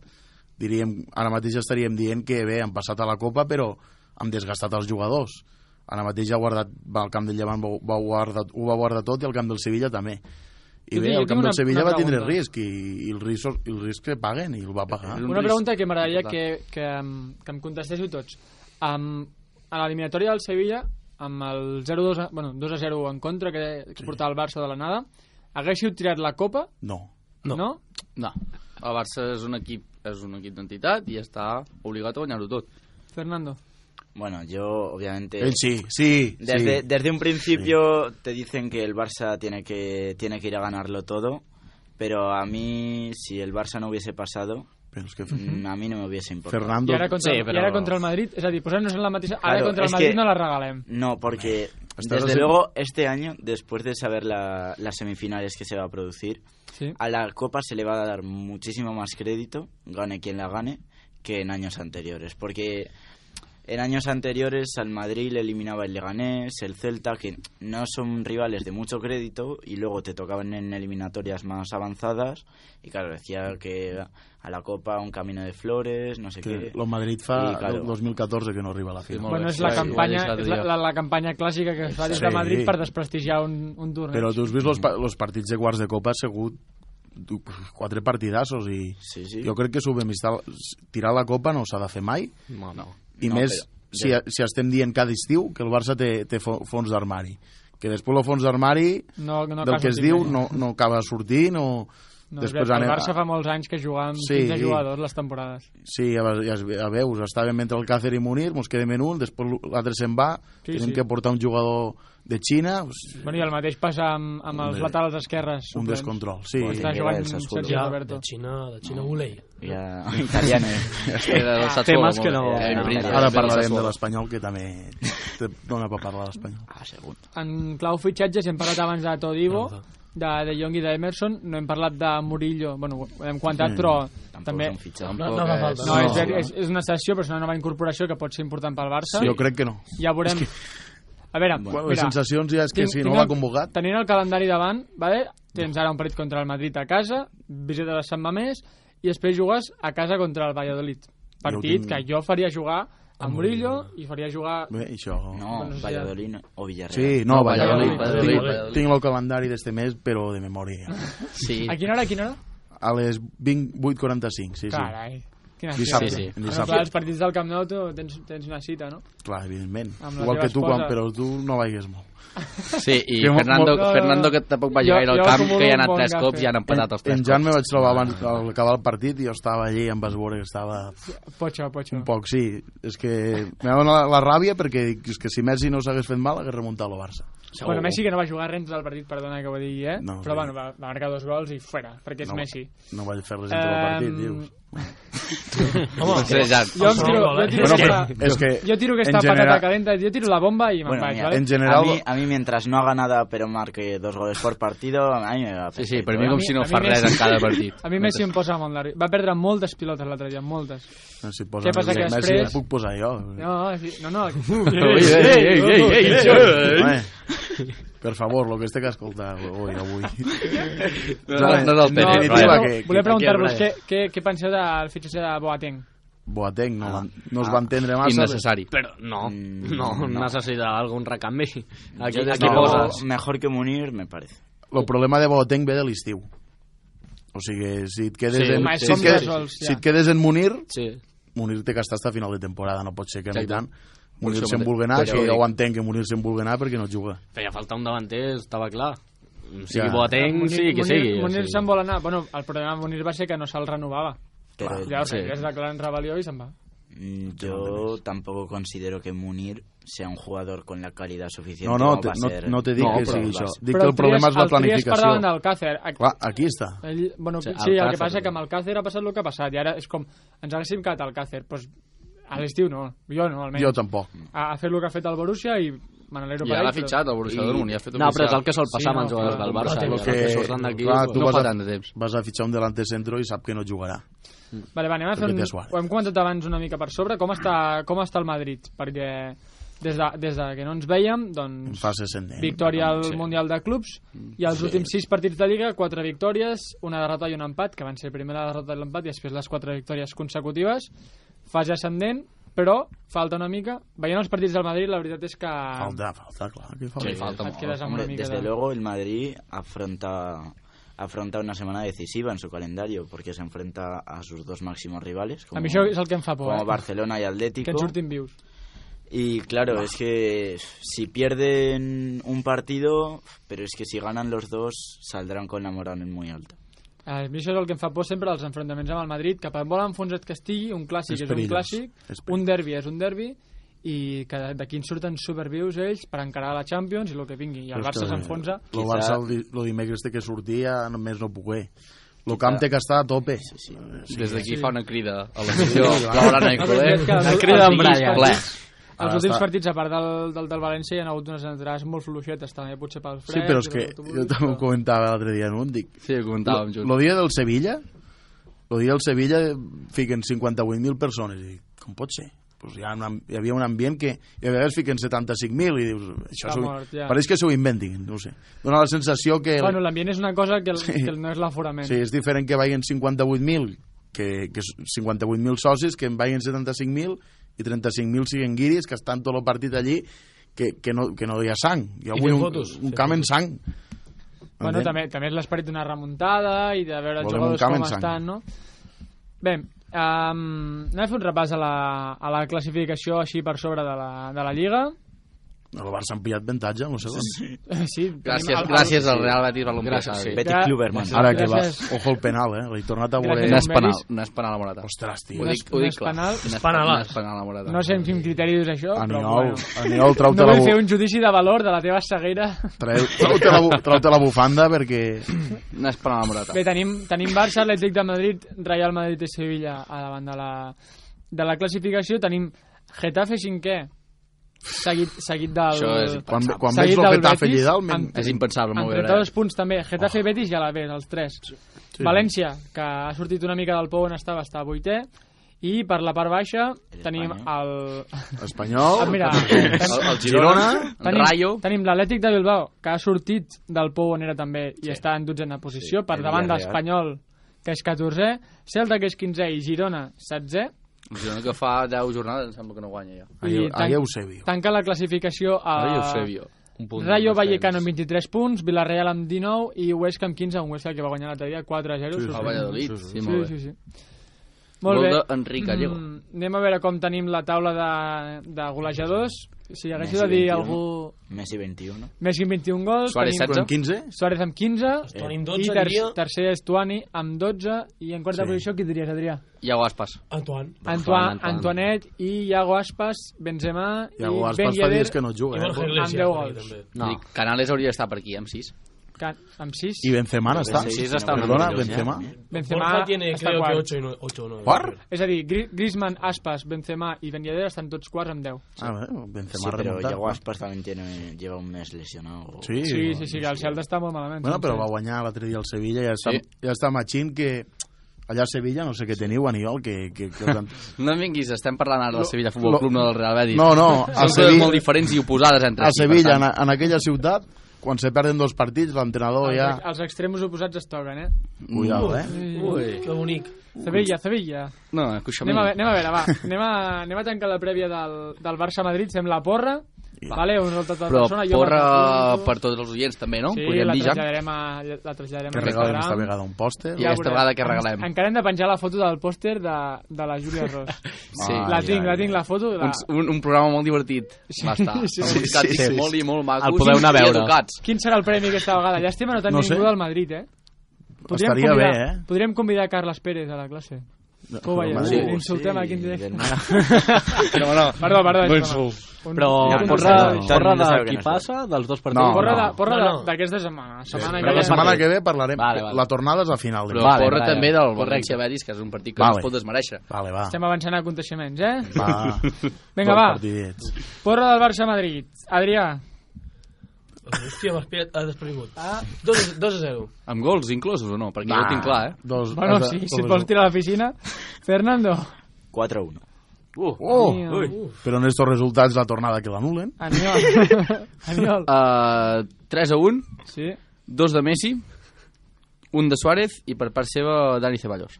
Speaker 6: diríem, ara mateix estaríem dient que bé, han passat a la Copa, però han desgastat els jugadors. Ara mateix ha guardat, va, al camp del Llevant va, va guardar, ho va guardar tot i al camp del Sevilla també. I
Speaker 1: Jo
Speaker 6: bé,
Speaker 1: tinc- jo
Speaker 6: al
Speaker 1: tinc
Speaker 6: camp
Speaker 1: una-
Speaker 6: del Sevilla
Speaker 1: una
Speaker 6: va tindre
Speaker 1: pregunta.
Speaker 6: risc i, i el, risc, el risc que paguen i el va pagar.
Speaker 5: El- un
Speaker 1: Una
Speaker 5: risc
Speaker 1: pregunta que m'agradaria que,
Speaker 5: important.
Speaker 1: que, em- que em contestéssiu tots. Um, a l'eliminatòria del Sevilla, amb el 0-2, a- bueno, 2-0 en contra que, que portava el Barça de la nada, haguéssiu tirat la copa?
Speaker 6: No.
Speaker 1: No. no?
Speaker 5: No, el Barça és un equip, és un equip d'entitat i està obligat a guanyar-ho tot.
Speaker 1: Fernando.
Speaker 4: Bueno, yo
Speaker 1: eh,
Speaker 4: obviamente...
Speaker 6: Ell sí, sí,
Speaker 4: Desde,
Speaker 6: sí.
Speaker 4: desde un principio te dicen que el Barça tiene que, tiene que ir a ganarlo todo, pero a mí, si el Barça no hubiese pasado,
Speaker 6: Però és que
Speaker 4: mm, a mí no me hubiese importado.
Speaker 1: I
Speaker 6: Fernando...
Speaker 1: ara contra,
Speaker 8: sí,
Speaker 1: sí, però...
Speaker 8: però-
Speaker 1: I ara contra el Madrid, és a dir, posant-nos en la mateixa... Ara
Speaker 4: Claro,
Speaker 1: contra el
Speaker 4: és
Speaker 1: Madrid
Speaker 4: que-
Speaker 1: no la regalem.
Speaker 4: No, porque
Speaker 6: Estás
Speaker 4: desde
Speaker 6: haciendo-
Speaker 4: luego este año, después de saber la- las semifinales que se va a producir,
Speaker 1: Sí.
Speaker 4: a la Copa se le va a dar muchísimo más crédito, gane quien la gane, que en años anteriores. Porque en años anteriores al Madrid le eliminaba el Leganés, el Celta, que no son rivales de mucho crédito, y luego te tocaban en eliminatorias más avanzadas. Y claro, decía que a la Copa un camino de flores, no sé
Speaker 6: que
Speaker 4: qué.
Speaker 6: el Madrid fa
Speaker 4: Sí, claro.
Speaker 6: el 2014 que no arriba a la
Speaker 5: Sí,
Speaker 6: final.
Speaker 5: molt
Speaker 1: Bueno,
Speaker 5: bé,
Speaker 1: és la
Speaker 5: sí,
Speaker 1: campanya,
Speaker 5: sí, l'altre
Speaker 1: és la,
Speaker 5: dia.
Speaker 1: la, la campanya clàssica que es fa des
Speaker 6: Sí.
Speaker 1: de Madrid per desprestigiar un, un torneig.
Speaker 6: Però tu has vist els, pa- els partits de quarts de Copa ha sigut du- quatre partidassos i
Speaker 4: Sí, sí.
Speaker 6: jo crec que subamistar, tirar la Copa no s'ha de fer mai
Speaker 8: No, no.
Speaker 6: i
Speaker 4: No,
Speaker 6: més
Speaker 4: però-
Speaker 6: si, si estem dient cada estiu que el Barça té, té fo- fons d'armari que després el fons d'armari
Speaker 1: no, no
Speaker 6: del
Speaker 1: acaba
Speaker 6: que es
Speaker 1: sortint
Speaker 6: diu
Speaker 1: bé.
Speaker 6: no, no acaba sortint o...
Speaker 1: No, Després, el Barça fa molts anys que jugava amb
Speaker 6: Sí.
Speaker 1: 15 jugadors les temporades.
Speaker 6: Sí, ja, ve- ja, es ve- ja veus, estàvem entre el Càcer i Munir, mos quedem en un, després l'altre se'n va,
Speaker 1: Sí,
Speaker 6: tenim
Speaker 1: sí.
Speaker 6: que portar un jugador de Xina, pues,
Speaker 1: Bueno, i el mateix passa amb, amb els
Speaker 6: Hombre,
Speaker 1: laterals esquerres.
Speaker 6: un
Speaker 1: suplents.
Speaker 6: descontrol. Sí,
Speaker 4: Pues
Speaker 1: Està
Speaker 4: Mira,
Speaker 1: jugant
Speaker 4: el Sassuolo.
Speaker 1: Sergi
Speaker 3: Ja,
Speaker 1: Roberto.
Speaker 3: de Xina, de Xina Volei.
Speaker 4: Ya, italiano.
Speaker 5: Era del Sassuolo,
Speaker 8: temes
Speaker 5: molt
Speaker 8: que
Speaker 5: bé.
Speaker 8: no-
Speaker 5: Eh,
Speaker 4: no,
Speaker 5: en principi,
Speaker 6: Ara
Speaker 5: del
Speaker 6: parlarem de
Speaker 5: Sassuolo.
Speaker 6: l'Espanyol, que també te dona per parlar d'Espanyol.
Speaker 4: Ah, segundo.
Speaker 1: En clau fitxatges hem parlat abans de Todibo, de De Jong i d'Emerson, no hem parlat de Murillo, bueno, ho hem comentat,
Speaker 6: Sí,
Speaker 1: però
Speaker 4: Tampoco
Speaker 1: també...
Speaker 4: son fichados.
Speaker 3: No, no fa falta.
Speaker 1: No, és,
Speaker 6: No.
Speaker 1: és, és una sessió, però és una nova incorporació que pot ser important pel Barça.
Speaker 6: Jo crec que no.
Speaker 1: Ja veurem... A veure,
Speaker 6: Bueno, les
Speaker 1: mira,
Speaker 6: sensacions ja és que
Speaker 1: tinc-
Speaker 6: si
Speaker 1: tinc
Speaker 6: no l'ha
Speaker 1: el-
Speaker 6: convocat...
Speaker 1: Tenint el calendari davant, vale? tens ara un partit contra el Madrid a casa, visites a Sant Mamés, i després jugues a casa contra el Valladolid. Partit
Speaker 6: tinc-
Speaker 1: que jo faria jugar a Murillo i faria jugar
Speaker 6: Bé, això...
Speaker 4: No,
Speaker 1: Bueno, sí.
Speaker 4: Valladolid no- o Villarreal.
Speaker 6: Sí, no, Valladolid.
Speaker 5: Valladolid, Valladolid,
Speaker 6: Tinc,
Speaker 5: Valladolid.
Speaker 6: tinc el calendari d'este mes, però de memòria.
Speaker 5: Sí.
Speaker 1: A quina hora, a quina hora?
Speaker 6: A les 20, 8.45, sí, sí.
Speaker 1: Carai, destinació.
Speaker 6: Dissabte.
Speaker 5: Sí, sí.
Speaker 1: Bueno,
Speaker 6: dissabte.
Speaker 1: clar, els partits del Camp Nou tu tens, tens una cita, no?
Speaker 6: Clar, evidentment.
Speaker 1: Amb la
Speaker 6: Igual
Speaker 1: teva
Speaker 6: que tu, quan,
Speaker 1: esposa.
Speaker 6: però tu no vaigues molt.
Speaker 5: Sí, i
Speaker 6: Que mo-
Speaker 5: Fernando,
Speaker 1: mo-
Speaker 5: Fernando que tampoc va
Speaker 1: Jo-
Speaker 5: gaire al
Speaker 1: jo
Speaker 5: camp,
Speaker 1: acumulo
Speaker 5: que hi ha
Speaker 1: un
Speaker 5: anat
Speaker 1: bon
Speaker 5: tres
Speaker 1: gafe.
Speaker 5: cops i han empatat els tres
Speaker 6: en Jan me
Speaker 5: cops.
Speaker 6: vaig trobar abans al acabar el partit i jo estava allí amb Esbora que estava
Speaker 1: Potxo, potxo.
Speaker 6: un poc, sí. És que m'ha donat la, la ràbia perquè dic, és que si Messi no s'hagués fet mal hagués remuntat el Barça.
Speaker 5: Segur.
Speaker 1: Bueno, Messi que no va jugar res en tot el partit, perdona que ho digui, eh?
Speaker 6: No,
Speaker 1: Però
Speaker 6: sí.
Speaker 1: bueno, va, va marcar dos gols i fuera, perquè és
Speaker 6: No.
Speaker 1: Messi.
Speaker 6: No vaig fer res entre el partit,
Speaker 1: Em,
Speaker 6: dius.
Speaker 3: Home,
Speaker 5: Sí, Jan.
Speaker 1: Jo, em
Speaker 3: segon
Speaker 1: tiro,
Speaker 3: gol, eh?
Speaker 1: jo, tiro
Speaker 6: Bueno,
Speaker 1: aquesta,
Speaker 6: però és que...
Speaker 1: jo tiro aquesta
Speaker 6: en
Speaker 1: patata
Speaker 6: general-
Speaker 1: calenta, jo tiro la bomba i me'n
Speaker 4: Bueno,
Speaker 1: vaig,
Speaker 4: mira,
Speaker 1: ¿vale?
Speaker 6: En general,
Speaker 4: a, mí, a mí mientras no haga nada pero marque dos goles por partido, a mí me va
Speaker 5: Sí, sí,
Speaker 4: perfecto,
Speaker 5: per mi
Speaker 4: ¿eh?
Speaker 5: com
Speaker 1: mi-
Speaker 5: si
Speaker 1: a
Speaker 5: no
Speaker 1: mi
Speaker 5: fa res
Speaker 1: Messi-
Speaker 5: en cada partit.
Speaker 1: A mi Messi em posa molt nerviós. Va perdre moltes pilotes l'altre dia, moltes.
Speaker 6: No, si posa
Speaker 1: Què passa
Speaker 6: Messi,
Speaker 1: que
Speaker 6: Messi
Speaker 1: després-
Speaker 6: el puc posar jo.
Speaker 1: No, sí, no, no.
Speaker 5: Ei, ei, ei, ei, ei, ei.
Speaker 6: Home, per favor, lo que este que escoltar avui, avui.
Speaker 5: No, no és el
Speaker 1: No,
Speaker 5: Pérez,
Speaker 6: definitiva,
Speaker 5: Brian.
Speaker 6: que-
Speaker 1: volia preguntar-vos
Speaker 5: Brian.
Speaker 1: què, què, què penseu del fitxatge de Boateng?
Speaker 6: Boateng no,
Speaker 4: Ah.
Speaker 6: no es va entendre massa.
Speaker 5: Innecessari.
Speaker 8: Però no,
Speaker 4: Mm,
Speaker 8: no,
Speaker 4: no.
Speaker 8: necessita algun recanvi. Aquí,
Speaker 4: Yo desde
Speaker 8: aquí
Speaker 4: luego,
Speaker 8: poses.
Speaker 4: Mejor que Munir, me parece.
Speaker 6: El problema de Boateng ve de l'estiu. O sigui, si et quedes,
Speaker 8: Sí,
Speaker 6: en,
Speaker 8: home,
Speaker 6: si,
Speaker 8: som
Speaker 6: et quedes,
Speaker 1: resolts, ja.
Speaker 6: si et quedes en Munir,
Speaker 8: Sí.
Speaker 6: Munir té que estar fins a final de temporada, no pot ser que no
Speaker 5: Exacte.
Speaker 6: i tant.
Speaker 5: Per
Speaker 6: Munir
Speaker 5: això
Speaker 6: se'n
Speaker 5: mateix.
Speaker 6: vulgui anar,
Speaker 5: Per això
Speaker 6: que
Speaker 5: ho
Speaker 6: ja ho
Speaker 5: dic.
Speaker 6: entenc, que Munir se'n vulgui anar perquè no juga.
Speaker 8: Feia falta un davanter, estava clar. Sigui
Speaker 6: Ja.
Speaker 8: ja. Boateng,
Speaker 1: Munir-
Speaker 8: sigui que
Speaker 1: Munir-
Speaker 8: sigui. o
Speaker 1: Munir
Speaker 8: sigui.
Speaker 1: se'n vol anar. Bueno, el problema amb Munir va ser que no se'l renovava.
Speaker 4: Pero
Speaker 1: Llavors,
Speaker 5: Sí.
Speaker 1: sí. es declaren rebel·lió i se'n va.
Speaker 4: mm, yo tampoco considero que Munir sea un jugador con la calidad suficiente.
Speaker 6: No, no,
Speaker 4: como
Speaker 6: te,
Speaker 4: para
Speaker 6: no,
Speaker 4: ser-
Speaker 6: no te dic
Speaker 4: No,
Speaker 6: que
Speaker 4: però
Speaker 6: sigui
Speaker 4: va
Speaker 6: això.
Speaker 4: ser-
Speaker 6: Dic que el problema és la
Speaker 1: El Trias parlava
Speaker 6: planificació.
Speaker 1: d'Alcácer. Ac-
Speaker 6: Clar, aquí està.
Speaker 1: Ell, bueno, sí,
Speaker 8: Sí,
Speaker 1: sí el que
Speaker 8: Alcácer.
Speaker 1: passa que amb Alcácer ha passat el que ha passat i ara és com, ens haguéssim quedat a Alcácer doncs a l'estiu no, jo no almenys
Speaker 6: Jo tampoc.
Speaker 1: a, a fer el que ha fet el Borussia i me n'alegro
Speaker 5: Ja
Speaker 1: per
Speaker 5: l'ha
Speaker 1: ell
Speaker 5: fitxat, el Borussia Dortmund, ja ha fet
Speaker 8: No, però és
Speaker 5: oficial.
Speaker 8: el que sol passar
Speaker 1: Sí,
Speaker 8: amb els
Speaker 1: no,
Speaker 8: jugadors
Speaker 1: clar.
Speaker 8: del Barça.
Speaker 1: Lo
Speaker 8: Els
Speaker 6: que-
Speaker 8: que surten d'aquí
Speaker 6: clar, tu
Speaker 5: no
Speaker 6: vas
Speaker 5: fa
Speaker 6: a-
Speaker 5: tant de temps.
Speaker 6: Vas a fitxar un delanter centro i sap que no jugarà.
Speaker 1: però... vale, vale, anem a fer
Speaker 6: Perquè
Speaker 1: un...
Speaker 6: té Suárez.
Speaker 1: ho hem comentat abans una mica per sobre com està, com està el Madrid perquè des de, des de que no ens veiem
Speaker 6: En
Speaker 1: doncs
Speaker 6: fase ascendent.
Speaker 1: victòria al Mundial de Clubs i els últims 6 partits de Lliga, 4 victòries una derrota i un empat, que van ser primer la derrota i l'empat i després les 4 victòries consecutives fase ascendent però falta una mica, veient els partits del Madrid la veritat és que
Speaker 6: Falta, falta, clar. Que falta.
Speaker 5: Sí, falta
Speaker 1: et
Speaker 5: molt.
Speaker 1: quedes amb
Speaker 4: Hombre,
Speaker 1: una mica
Speaker 4: desde
Speaker 1: de...
Speaker 4: luego el Madrid afronta afronta una semana decisiva en su calendario porque se enfrenta a sus dos máximos rivales como,
Speaker 1: A mi això és el que em fa por,
Speaker 4: como
Speaker 1: eh?
Speaker 4: Barcelona y Atlético
Speaker 1: Que en surtin vius.
Speaker 4: y claro es que si pierden un partido pero es que si ganan los dos saldrán con la moral muy alta
Speaker 1: A mi això és el que em fa por sempre els enfrontaments amb el Madrid, que per molt enfonsat que estigui, un clàssic
Speaker 6: És
Speaker 1: és, un
Speaker 6: perillós.
Speaker 1: clàssic,
Speaker 6: És perillós.
Speaker 1: un derbi és un derbi, i que d'aquí en surten supervius ells per encarar la Champions i el que vingui. I el
Speaker 6: Però és
Speaker 1: Barça
Speaker 6: que
Speaker 1: s'enfonsa.
Speaker 6: El
Speaker 4: Quizá-
Speaker 6: Barça el, di- el dimecres té que sortir, ja només no puc bé. El camp té que estar a tope. Sí, sí.
Speaker 5: Des d'aquí fa una crida a l'afició blaugrana i
Speaker 1: No,
Speaker 5: culer.
Speaker 1: però és que els-
Speaker 5: Una
Speaker 1: els
Speaker 5: crida amb
Speaker 1: partits-
Speaker 5: Brian. Ple.
Speaker 1: Els
Speaker 6: Ara
Speaker 1: últims
Speaker 6: està-
Speaker 1: partits, a part del, del, del València, hi ha hagut unes entrades molt fluixetes, també, potser pel fred.
Speaker 6: Sí, però és
Speaker 1: i
Speaker 6: que
Speaker 1: l'autobús,
Speaker 6: jo també ho
Speaker 1: però-
Speaker 6: comentava l'altre dia en un, dic,
Speaker 5: Sí, ho comentàvem
Speaker 6: el
Speaker 5: junts.
Speaker 6: dia del Sevilla, el dia del Sevilla fiquen 58.000 persones, i dic, com pot ser? Pues hi, ha un, am- hi havia un ambient que i a vegades fiquen 75.000 i dius, això
Speaker 1: Està
Speaker 6: s'ho-
Speaker 1: mort, ja.
Speaker 6: pareix que s'ho inventin, no ho sé. Dóna la sensació que...
Speaker 1: Bueno, l'ambient és una cosa que, el,
Speaker 6: Sí.
Speaker 1: que el- no és l'aforament.
Speaker 6: Sí, és diferent que vagin 58.000 que, que s- 58.000 socis, que en vagin 75.000 i 35.000 siguen guiris, que estan tot el partit allí, que, que, no, que no hi ha sang. Jo
Speaker 3: I
Speaker 6: vull
Speaker 3: fent
Speaker 6: un,
Speaker 3: fotos,
Speaker 6: un
Speaker 3: fent
Speaker 6: camp en sang.
Speaker 1: Bueno,
Speaker 6: Entén?
Speaker 1: també, també és l'esperit d'una remuntada i de veure els
Speaker 6: Volem un
Speaker 1: jugadors
Speaker 6: camp
Speaker 1: com
Speaker 6: en sang.
Speaker 1: estan, no? Bé, um, anem a fer un repàs a la, a la classificació així per sobre de la, de la Lliga.
Speaker 6: El Barça han pillat avantatge en el segon. Sí,
Speaker 1: Sí, tenim
Speaker 5: Gràcies,
Speaker 1: el- el-
Speaker 5: gràcies al Real Betis València.
Speaker 8: Gràcies, sí.
Speaker 4: Betty
Speaker 1: Ja-
Speaker 4: Kluberman
Speaker 1: sí.
Speaker 6: Ara que va,
Speaker 1: Gràcies.
Speaker 6: ojo el penal, eh? L'he tornat a voler...
Speaker 5: No és penal,
Speaker 1: Mèrits.
Speaker 5: no és penal a Morata.
Speaker 6: Ostres, tio.
Speaker 5: Ho
Speaker 1: No és-
Speaker 5: dic, ho
Speaker 1: no
Speaker 5: dic
Speaker 1: és
Speaker 5: clar.
Speaker 1: penal.
Speaker 5: No és penal,
Speaker 3: penalàs.
Speaker 5: no és penal a Morata.
Speaker 1: No sé en quin criteri dius això, però
Speaker 6: Aniol,
Speaker 1: bueno.
Speaker 6: Aniol, trau-te
Speaker 1: No
Speaker 6: la,
Speaker 1: vull fer
Speaker 6: bu
Speaker 1: un judici de valor de la teva ceguera.
Speaker 6: treu, treu-te la, bu treu la bufanda perquè...
Speaker 5: No és penal a Morata.
Speaker 1: Bé, tenim, tenim Barça, Atlètic de Madrid, Real Madrid i Sevilla a davant de la, de la classificació. Tenim Getafe cinquè, seguit, seguit del...
Speaker 5: Això és
Speaker 6: Quan,
Speaker 5: impensable.
Speaker 6: quan
Speaker 1: Seguit
Speaker 6: veig el
Speaker 1: del
Speaker 6: Getafe allí
Speaker 1: Betis,
Speaker 6: dalt...
Speaker 1: amb-
Speaker 6: men-
Speaker 5: És impensable
Speaker 1: Amb
Speaker 5: no veure.
Speaker 1: 32 punts també, Getafe, oh. Betis i Alavés, els tres. Sí. València, que ha sortit una mica del pou on estava, està a vuitè. I per la part baixa tenim el...
Speaker 6: Espanyol...
Speaker 5: Oh!
Speaker 1: Ah, mira,
Speaker 5: El,
Speaker 1: tenim,
Speaker 5: el Girona, el Rayo,
Speaker 1: tenim l'Atlètic de Bilbao, que ha sortit del pou on era també i està en dotzena posició, per
Speaker 4: el
Speaker 1: davant
Speaker 4: Villarreal.
Speaker 1: d'Espanyol, que és 14è, Celta, que és 15è, i Girona, 16è.
Speaker 5: el Girona que fa 10 jornades em sembla que no guanya ja.
Speaker 1: I
Speaker 6: Ahí, ahí Eusebio.
Speaker 1: Tanca la classificació a...
Speaker 5: Rayo Eusebio. Un punt
Speaker 1: Rayo
Speaker 5: de
Speaker 1: Vallecano amb 23 punts, Villarreal amb 19 i Huesca amb 15, un Huesca que va guanyar l'altre dia 4-0.
Speaker 6: Sí, sí.
Speaker 5: El Valladolid,
Speaker 6: Sí, sí,
Speaker 5: sí,
Speaker 1: Sí,
Speaker 5: molt bé.
Speaker 1: sí, sí. Molt
Speaker 9: Gol
Speaker 1: bé.
Speaker 9: d'Enric Gallego.
Speaker 1: Mm, anem a veure com tenim la taula de, de golejadors. Si haguéssiu de dir
Speaker 4: Messi, 21.
Speaker 1: algú...
Speaker 4: Messi 21.
Speaker 1: Messi amb 21 gols.
Speaker 9: Suárez,
Speaker 1: tenim...
Speaker 9: setze.
Speaker 6: Amb 15?
Speaker 1: Suárez amb 15.
Speaker 3: Toni, amb
Speaker 1: I
Speaker 3: 12
Speaker 1: ter
Speaker 3: diria...
Speaker 1: tercer és Tuani amb 12. I en quarta
Speaker 6: Sí.
Speaker 1: posició qui diries, Adrià?
Speaker 5: Iago Aspas.
Speaker 3: Antoine.
Speaker 1: Antoine,
Speaker 8: Antoine.
Speaker 1: Antoanet i Iago Aspas, Benzema i
Speaker 6: Iago
Speaker 1: Ben
Speaker 6: Aspas fa
Speaker 1: Yedder
Speaker 6: dies que no juga.
Speaker 3: I Borja
Speaker 6: Eh?
Speaker 3: Iglesias.
Speaker 1: deu
Speaker 3: per mi,
Speaker 1: gols.
Speaker 3: també.
Speaker 5: No. Canales hauria d'estar per aquí, amb 6.
Speaker 1: que, amb 6.
Speaker 6: I Benzema n'està.
Speaker 4: Sí,
Speaker 5: sí,
Speaker 4: sí,
Speaker 5: està una
Speaker 6: Perdona,
Speaker 4: mica
Speaker 6: Benzema.
Speaker 4: lluny, eh?
Speaker 1: Benzema
Speaker 3: Borja tiene,
Speaker 1: està
Speaker 3: creo que
Speaker 1: quart.
Speaker 3: 8 o 9.
Speaker 6: Quart?
Speaker 1: És a dir, Gri- Griezmann, Aspas, Benzema i Ben Yedder estan tots quarts amb 10.
Speaker 6: Ah, bé, Benzema
Speaker 4: Sí, pero
Speaker 6: remuntat.
Speaker 4: Yago Aspas también tiene, lleva un mes lesionado. o-
Speaker 6: Sí,
Speaker 1: Sí, sí, sí, que el Celta està molt malament.
Speaker 6: Bueno, però va
Speaker 1: Doncs,
Speaker 6: guanyar l'altre dia el Sevilla i ja està,
Speaker 5: Sí.
Speaker 6: ja està matxint que allà a Sevilla no sé què teniu, Aniol, que... que, que us han...
Speaker 5: No em vinguis, estem parlant ara del
Speaker 6: Lo-
Speaker 5: Sevilla Futbol
Speaker 6: lo-
Speaker 5: Club, no del Real Betis.
Speaker 6: No, no,
Speaker 5: Són
Speaker 6: al
Speaker 5: coses molt
Speaker 6: Sevilla,
Speaker 5: diferents i oposades entre
Speaker 6: a
Speaker 5: si, per
Speaker 6: Sevilla
Speaker 5: tant.
Speaker 6: en, en aquella ciutat, quan se perden dos partits, l'entrenador
Speaker 1: els,
Speaker 6: ja...
Speaker 1: els extremos oposats es toquen, eh?
Speaker 6: Cuidado, eh?
Speaker 3: Ui, que bonic.
Speaker 1: Sevilla, Sevilla.
Speaker 5: No, escucha
Speaker 1: Anem a, ve- anem a veure, va. Anem a, anem a tancar la prèvia del, del Barça-Madrid. Fem la porra. Vale, un resultat de
Speaker 5: Però
Speaker 1: persona.
Speaker 5: porra
Speaker 1: m'apunto.
Speaker 5: per tots els oients també, no?
Speaker 1: Sí,
Speaker 5: Podríem
Speaker 1: la
Speaker 5: dir ja.
Speaker 1: traslladarem, a, la traslladarem
Speaker 6: Que
Speaker 1: a
Speaker 6: regalem esta
Speaker 1: Instagram.
Speaker 6: vegada un pòster.
Speaker 5: I aquesta
Speaker 1: veurem.
Speaker 5: vegada que regalem.
Speaker 1: Encara hem de penjar la foto del pòster de, de la Júlia Ros.
Speaker 5: Sí.
Speaker 1: la tinc, la tinc, la foto. La...
Speaker 5: Un, un, un programa molt divertit. Sí, Basta. Sí, sí, sí, sí, molt i molt macos.
Speaker 8: El podeu anar
Speaker 5: i
Speaker 8: a veure.
Speaker 5: Educats.
Speaker 1: Quin serà el premi aquesta vegada? Llàstima no tenir
Speaker 6: No
Speaker 1: no
Speaker 6: sé.
Speaker 1: ningú del Madrid, eh?
Speaker 6: Estaria
Speaker 1: convidar,
Speaker 6: bé, eh?
Speaker 1: Podríem convidar Carles Pérez a la classe. Com ho veieu?
Speaker 6: Madrid,
Speaker 1: Sí, insultem aquí en directe.
Speaker 4: del Málaga.
Speaker 8: Però,
Speaker 1: Perdó,
Speaker 8: bueno,
Speaker 1: perdó. és broma. Un-
Speaker 8: però
Speaker 1: un-
Speaker 4: no,
Speaker 8: porra,
Speaker 4: no, no.
Speaker 8: porra de
Speaker 4: No sabeu que
Speaker 8: qui
Speaker 4: no és.
Speaker 8: passa, dels dos partits.
Speaker 6: No,
Speaker 1: Porra
Speaker 6: no.
Speaker 1: de- porra
Speaker 3: No, no.
Speaker 1: de- d'aquesta setmana. Setmana
Speaker 6: Però
Speaker 1: que
Speaker 6: la
Speaker 1: ve.
Speaker 6: setmana que ve parlarem.
Speaker 8: Vale, vale.
Speaker 6: La tornada és a final. de
Speaker 5: Però
Speaker 6: mes.
Speaker 8: Vale,
Speaker 5: porra
Speaker 8: vale.
Speaker 5: també del
Speaker 8: Correcte.
Speaker 5: València Betis, que és un partit que no
Speaker 6: Vale.
Speaker 5: es pot desmereixer.
Speaker 6: Vale, va.
Speaker 1: Estem avançant a aconteixements, eh?
Speaker 6: Va.
Speaker 1: Vinga,
Speaker 6: Dos
Speaker 1: va.
Speaker 6: Partidets.
Speaker 1: Porra del Barça-Madrit. Adrià,
Speaker 3: Hòstia, m'has pillat- has desprevingut. 2 a 0.
Speaker 5: Amb gols inclosos o no? Perquè jo ho tinc clar, eh?
Speaker 6: Dos,
Speaker 1: Bueno,
Speaker 6: dos-
Speaker 1: sí, si
Speaker 6: dos-
Speaker 1: et vols tirar a la piscina. Fernando.
Speaker 4: 4-1.
Speaker 6: Oh,
Speaker 1: Aniol.
Speaker 6: però en estos resultats la tornada que l'anulen.
Speaker 1: Aniol. Ah. Aniol.
Speaker 5: Uh, 3 a 1,
Speaker 1: Sí.
Speaker 5: 2 de Messi, un de Suárez i per part seva Dani Ceballos.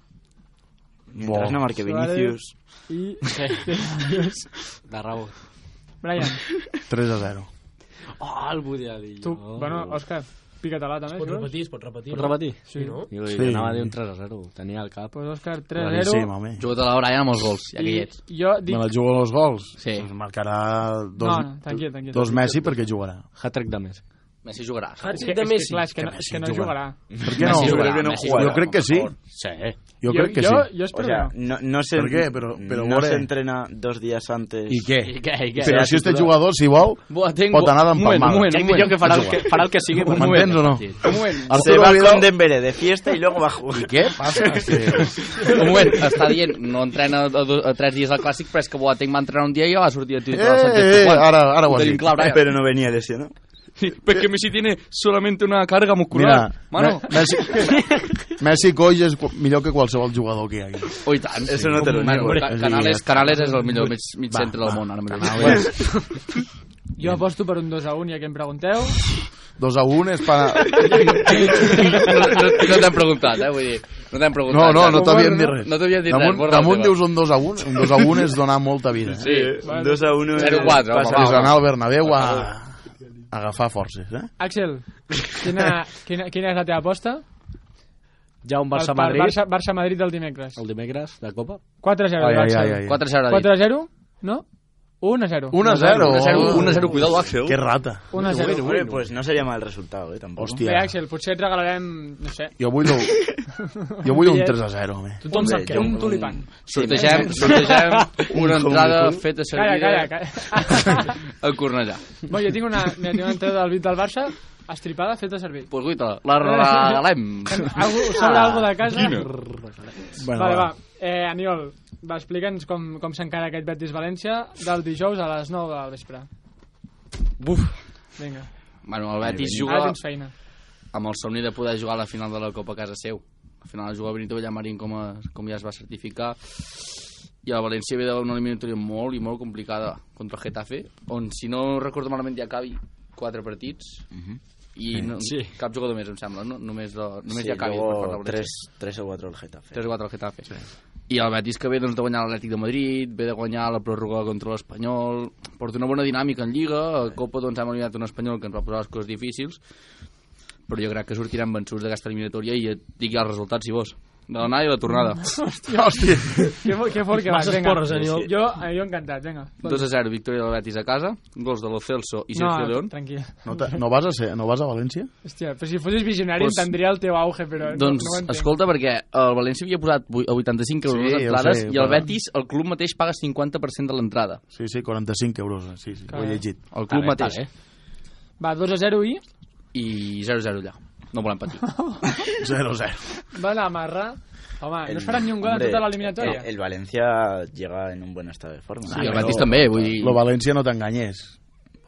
Speaker 4: Mientras no marque
Speaker 1: Suárez.
Speaker 4: Vinicius,
Speaker 1: I...
Speaker 8: De raó.
Speaker 1: Brian,
Speaker 6: 3 a 0.
Speaker 8: Oh, el volia dir
Speaker 1: tu...
Speaker 8: jo.
Speaker 1: Bueno, Òscar, pica-te-la també.
Speaker 3: Pots
Speaker 1: si vols.
Speaker 3: repetir, es pot repetir.
Speaker 8: Pots repetir?
Speaker 1: Sí, no?
Speaker 8: Jo
Speaker 6: Sí.
Speaker 8: sí. anava a dir un 3 a 0, tenia al cap.
Speaker 1: Pues Òscar,
Speaker 6: Sí,
Speaker 1: 3-0.
Speaker 6: mami.
Speaker 5: Juga't a la Brian amb els gols, ja que hi
Speaker 1: I
Speaker 5: ets.
Speaker 1: jo
Speaker 6: Me la
Speaker 1: dic...
Speaker 6: jugo dos gols.
Speaker 5: Sí.
Speaker 6: Doncs marcarà dos,
Speaker 1: No, no, tranquil, tranquil.
Speaker 6: dos Messi perquè jugarà.
Speaker 8: Hat-trick de Messi.
Speaker 5: Messi jugarà.
Speaker 1: És que,
Speaker 3: Hàtic
Speaker 1: és
Speaker 3: de
Speaker 1: que,
Speaker 3: Messi.
Speaker 1: clar, és que, no, és que no jugarà.
Speaker 6: Per què no?
Speaker 5: Messi jugarà, Messi jugarà,
Speaker 6: jo crec que sí.
Speaker 5: Sí.
Speaker 6: Jo, crec que
Speaker 1: jo,
Speaker 6: sí.
Speaker 1: Jo
Speaker 4: O
Speaker 1: espero
Speaker 4: sea,
Speaker 1: que no.
Speaker 4: no, no se,
Speaker 6: ¿Por qué? Pero- pero
Speaker 4: no
Speaker 6: More.
Speaker 4: se entrena dos días antes.
Speaker 6: I què?
Speaker 5: I què, i què?
Speaker 6: Però si este jugador, si vol,
Speaker 5: Boateng,
Speaker 6: pot anar
Speaker 5: un moment,
Speaker 6: d'empalmada.
Speaker 5: un moment, un moment.
Speaker 8: que farà el que, farà el que sigui.
Speaker 6: M'entens o no?
Speaker 5: Un moment,
Speaker 4: Se
Speaker 6: Arturo
Speaker 4: va
Speaker 6: Vidal...
Speaker 4: con Dembélé de fiesta y luego va a jugar.
Speaker 6: Què passa? Sí.
Speaker 5: un moment, està dient, no entrena a, do, a tres dies al clàssic, però és que Boateng va entrenar un dia i ja va sortir a Twitter.
Speaker 6: Eh, eh, ara, ara ho has dit.
Speaker 4: Pero no venía lesionado.
Speaker 5: Perquè Messi tiene solamente una
Speaker 6: Mira,
Speaker 5: carga muscular.
Speaker 6: Me-
Speaker 5: Mano,
Speaker 6: Messi, Messi Coix és qu- millor que qualsevol jugador que hi hagi.
Speaker 5: oh, i tant.
Speaker 4: Eso no te lo
Speaker 5: Mano,
Speaker 4: niego.
Speaker 5: Ca- Canales, Canales és el millor mig, mig
Speaker 6: Va,
Speaker 5: centre del
Speaker 6: va,
Speaker 5: món, ara mateix.
Speaker 6: Canales.
Speaker 1: Jo aposto per un 2 a 1, ja que em pregunteu.
Speaker 6: 2 a 1 és per...
Speaker 5: No, no, no t'hem preguntat, eh, vull dir, no t'hem preguntat.
Speaker 6: No, no,
Speaker 5: ja.
Speaker 6: no t'havien dit res.
Speaker 5: No t'havien dit res,
Speaker 6: damunt,
Speaker 5: borra
Speaker 6: damunt
Speaker 5: la teva.
Speaker 6: dius un 2 a 1. Un 2 a 1 és donar molta vida. Sí.
Speaker 4: 2 a 1.
Speaker 5: 0-4, home,
Speaker 6: Passaris
Speaker 5: va,
Speaker 6: a anar
Speaker 5: va.
Speaker 6: al Bernabéu a, a agafar forces, eh?
Speaker 1: Axel, quina, quina, quina és la teva aposta?
Speaker 8: Ja un Barça-Madrid,
Speaker 1: Barça, Barça Madrid del dimecres.
Speaker 8: el dimecres de Copa.
Speaker 1: 4-0,
Speaker 6: Ai, ai,
Speaker 1: Axel.
Speaker 6: ai, ai.
Speaker 5: 4 0 dit.
Speaker 1: 4-0, no? 1-0.
Speaker 6: 1 a 0.
Speaker 5: 1 0, 1 0, cuidado, Axel.
Speaker 6: Que rata.
Speaker 1: 1-0.
Speaker 4: Hombre, pues no sería mal resultado, eh, tampoco.
Speaker 6: Hòstia.
Speaker 1: Bé, Axel, potser et regalarem, no sé,
Speaker 6: Jo vull, un, jo vull un
Speaker 1: Pillet.
Speaker 6: 3 a 0, home.
Speaker 1: tothom sap què. Un
Speaker 4: jo-
Speaker 1: tulipan.
Speaker 5: Sortegem, sortegem una entrada feta
Speaker 1: Calla, calla,
Speaker 5: servir
Speaker 1: calla.
Speaker 5: a Cornellà.
Speaker 1: Bo, jo tinc una, mira, tinc una entrada del bit del Barça estripada, feta servir.
Speaker 5: Pues guita, la regalem.
Speaker 1: Algú, us sobra ah, algo de casa?
Speaker 6: Bueno,
Speaker 1: Vale, va. Eh, Aniol, va, explica'ns com, com s'encara aquest Betis-València del dijous a les 9 del vespre.
Speaker 5: Buf.
Speaker 1: Vinga,
Speaker 5: Bueno, el Betis
Speaker 1: ara
Speaker 5: juga
Speaker 1: tens feina.
Speaker 5: amb el somni de poder jugar a la final de la Copa a casa seu. Al final la juga Benito Villamarín com, a, com ja es va certificar i el València ve d'una eliminatòria molt i molt complicada contra el Getafe on si no recordo malament ja acabi quatre partits i no, sí. cap jugador més em sembla no? només, de, només
Speaker 4: Sí,
Speaker 5: ja acabi per part
Speaker 4: luego
Speaker 5: del València.
Speaker 4: 3, 3 o 4 el Getafe.
Speaker 5: 3 o 4 al Getafe. Sí. I el Betis que ve doncs, de guanyar l'Atlètic de Madrid, ve de guanyar la pròrroga contra l'Espanyol, porta una bona dinàmica en Lliga, a Copa doncs, hem eliminat un Espanyol que ens va posar les coses difícils, però jo crec que sortirem vençuts d'aquesta eliminatòria i et dic ja els resultats, si vols. de l'anada i la tornada.
Speaker 6: Hòstia!
Speaker 1: Qué, fo- qué fort que vas,
Speaker 3: Masses
Speaker 1: venga.
Speaker 3: porres, Aniol.
Speaker 1: Yo, eh, yo encantado, venga.
Speaker 5: 2 a 0, victòria del Betis a casa, gols de Lo Celso i Sergio
Speaker 1: no,
Speaker 5: León.
Speaker 1: tranquil.
Speaker 6: No, te- no, vas a ser, no vas a València?
Speaker 1: Hòstia, però si fossis visionari
Speaker 5: Pues-
Speaker 1: pues, entendria el teu auge, però no,
Speaker 5: Doncs,
Speaker 1: no ho entenc.
Speaker 5: escolta, perquè el València havia posat vu- a 85 euros
Speaker 6: Sí,
Speaker 5: les
Speaker 6: ja ho
Speaker 5: entrades
Speaker 6: sé,
Speaker 5: i el
Speaker 6: però-
Speaker 5: Betis, el club mateix, paga 50% de l'entrada.
Speaker 6: Sí, sí, 45 euros. eh? Sí, sí, ho he llegit.
Speaker 5: El club
Speaker 6: eh?
Speaker 5: mateix.
Speaker 1: Va, 2 a 0 i
Speaker 5: I 0-0 allà. No volem patir.
Speaker 6: 0-0.
Speaker 1: va la marra. Home, no es farà ni un gol
Speaker 4: hombre,
Speaker 1: en tota l'eliminatòria.
Speaker 4: El, el Valencia llega en un buen estado de forma.
Speaker 5: Sí, el
Speaker 6: però-
Speaker 5: Betis també, vull dir...
Speaker 6: Lo València no t'enganyés.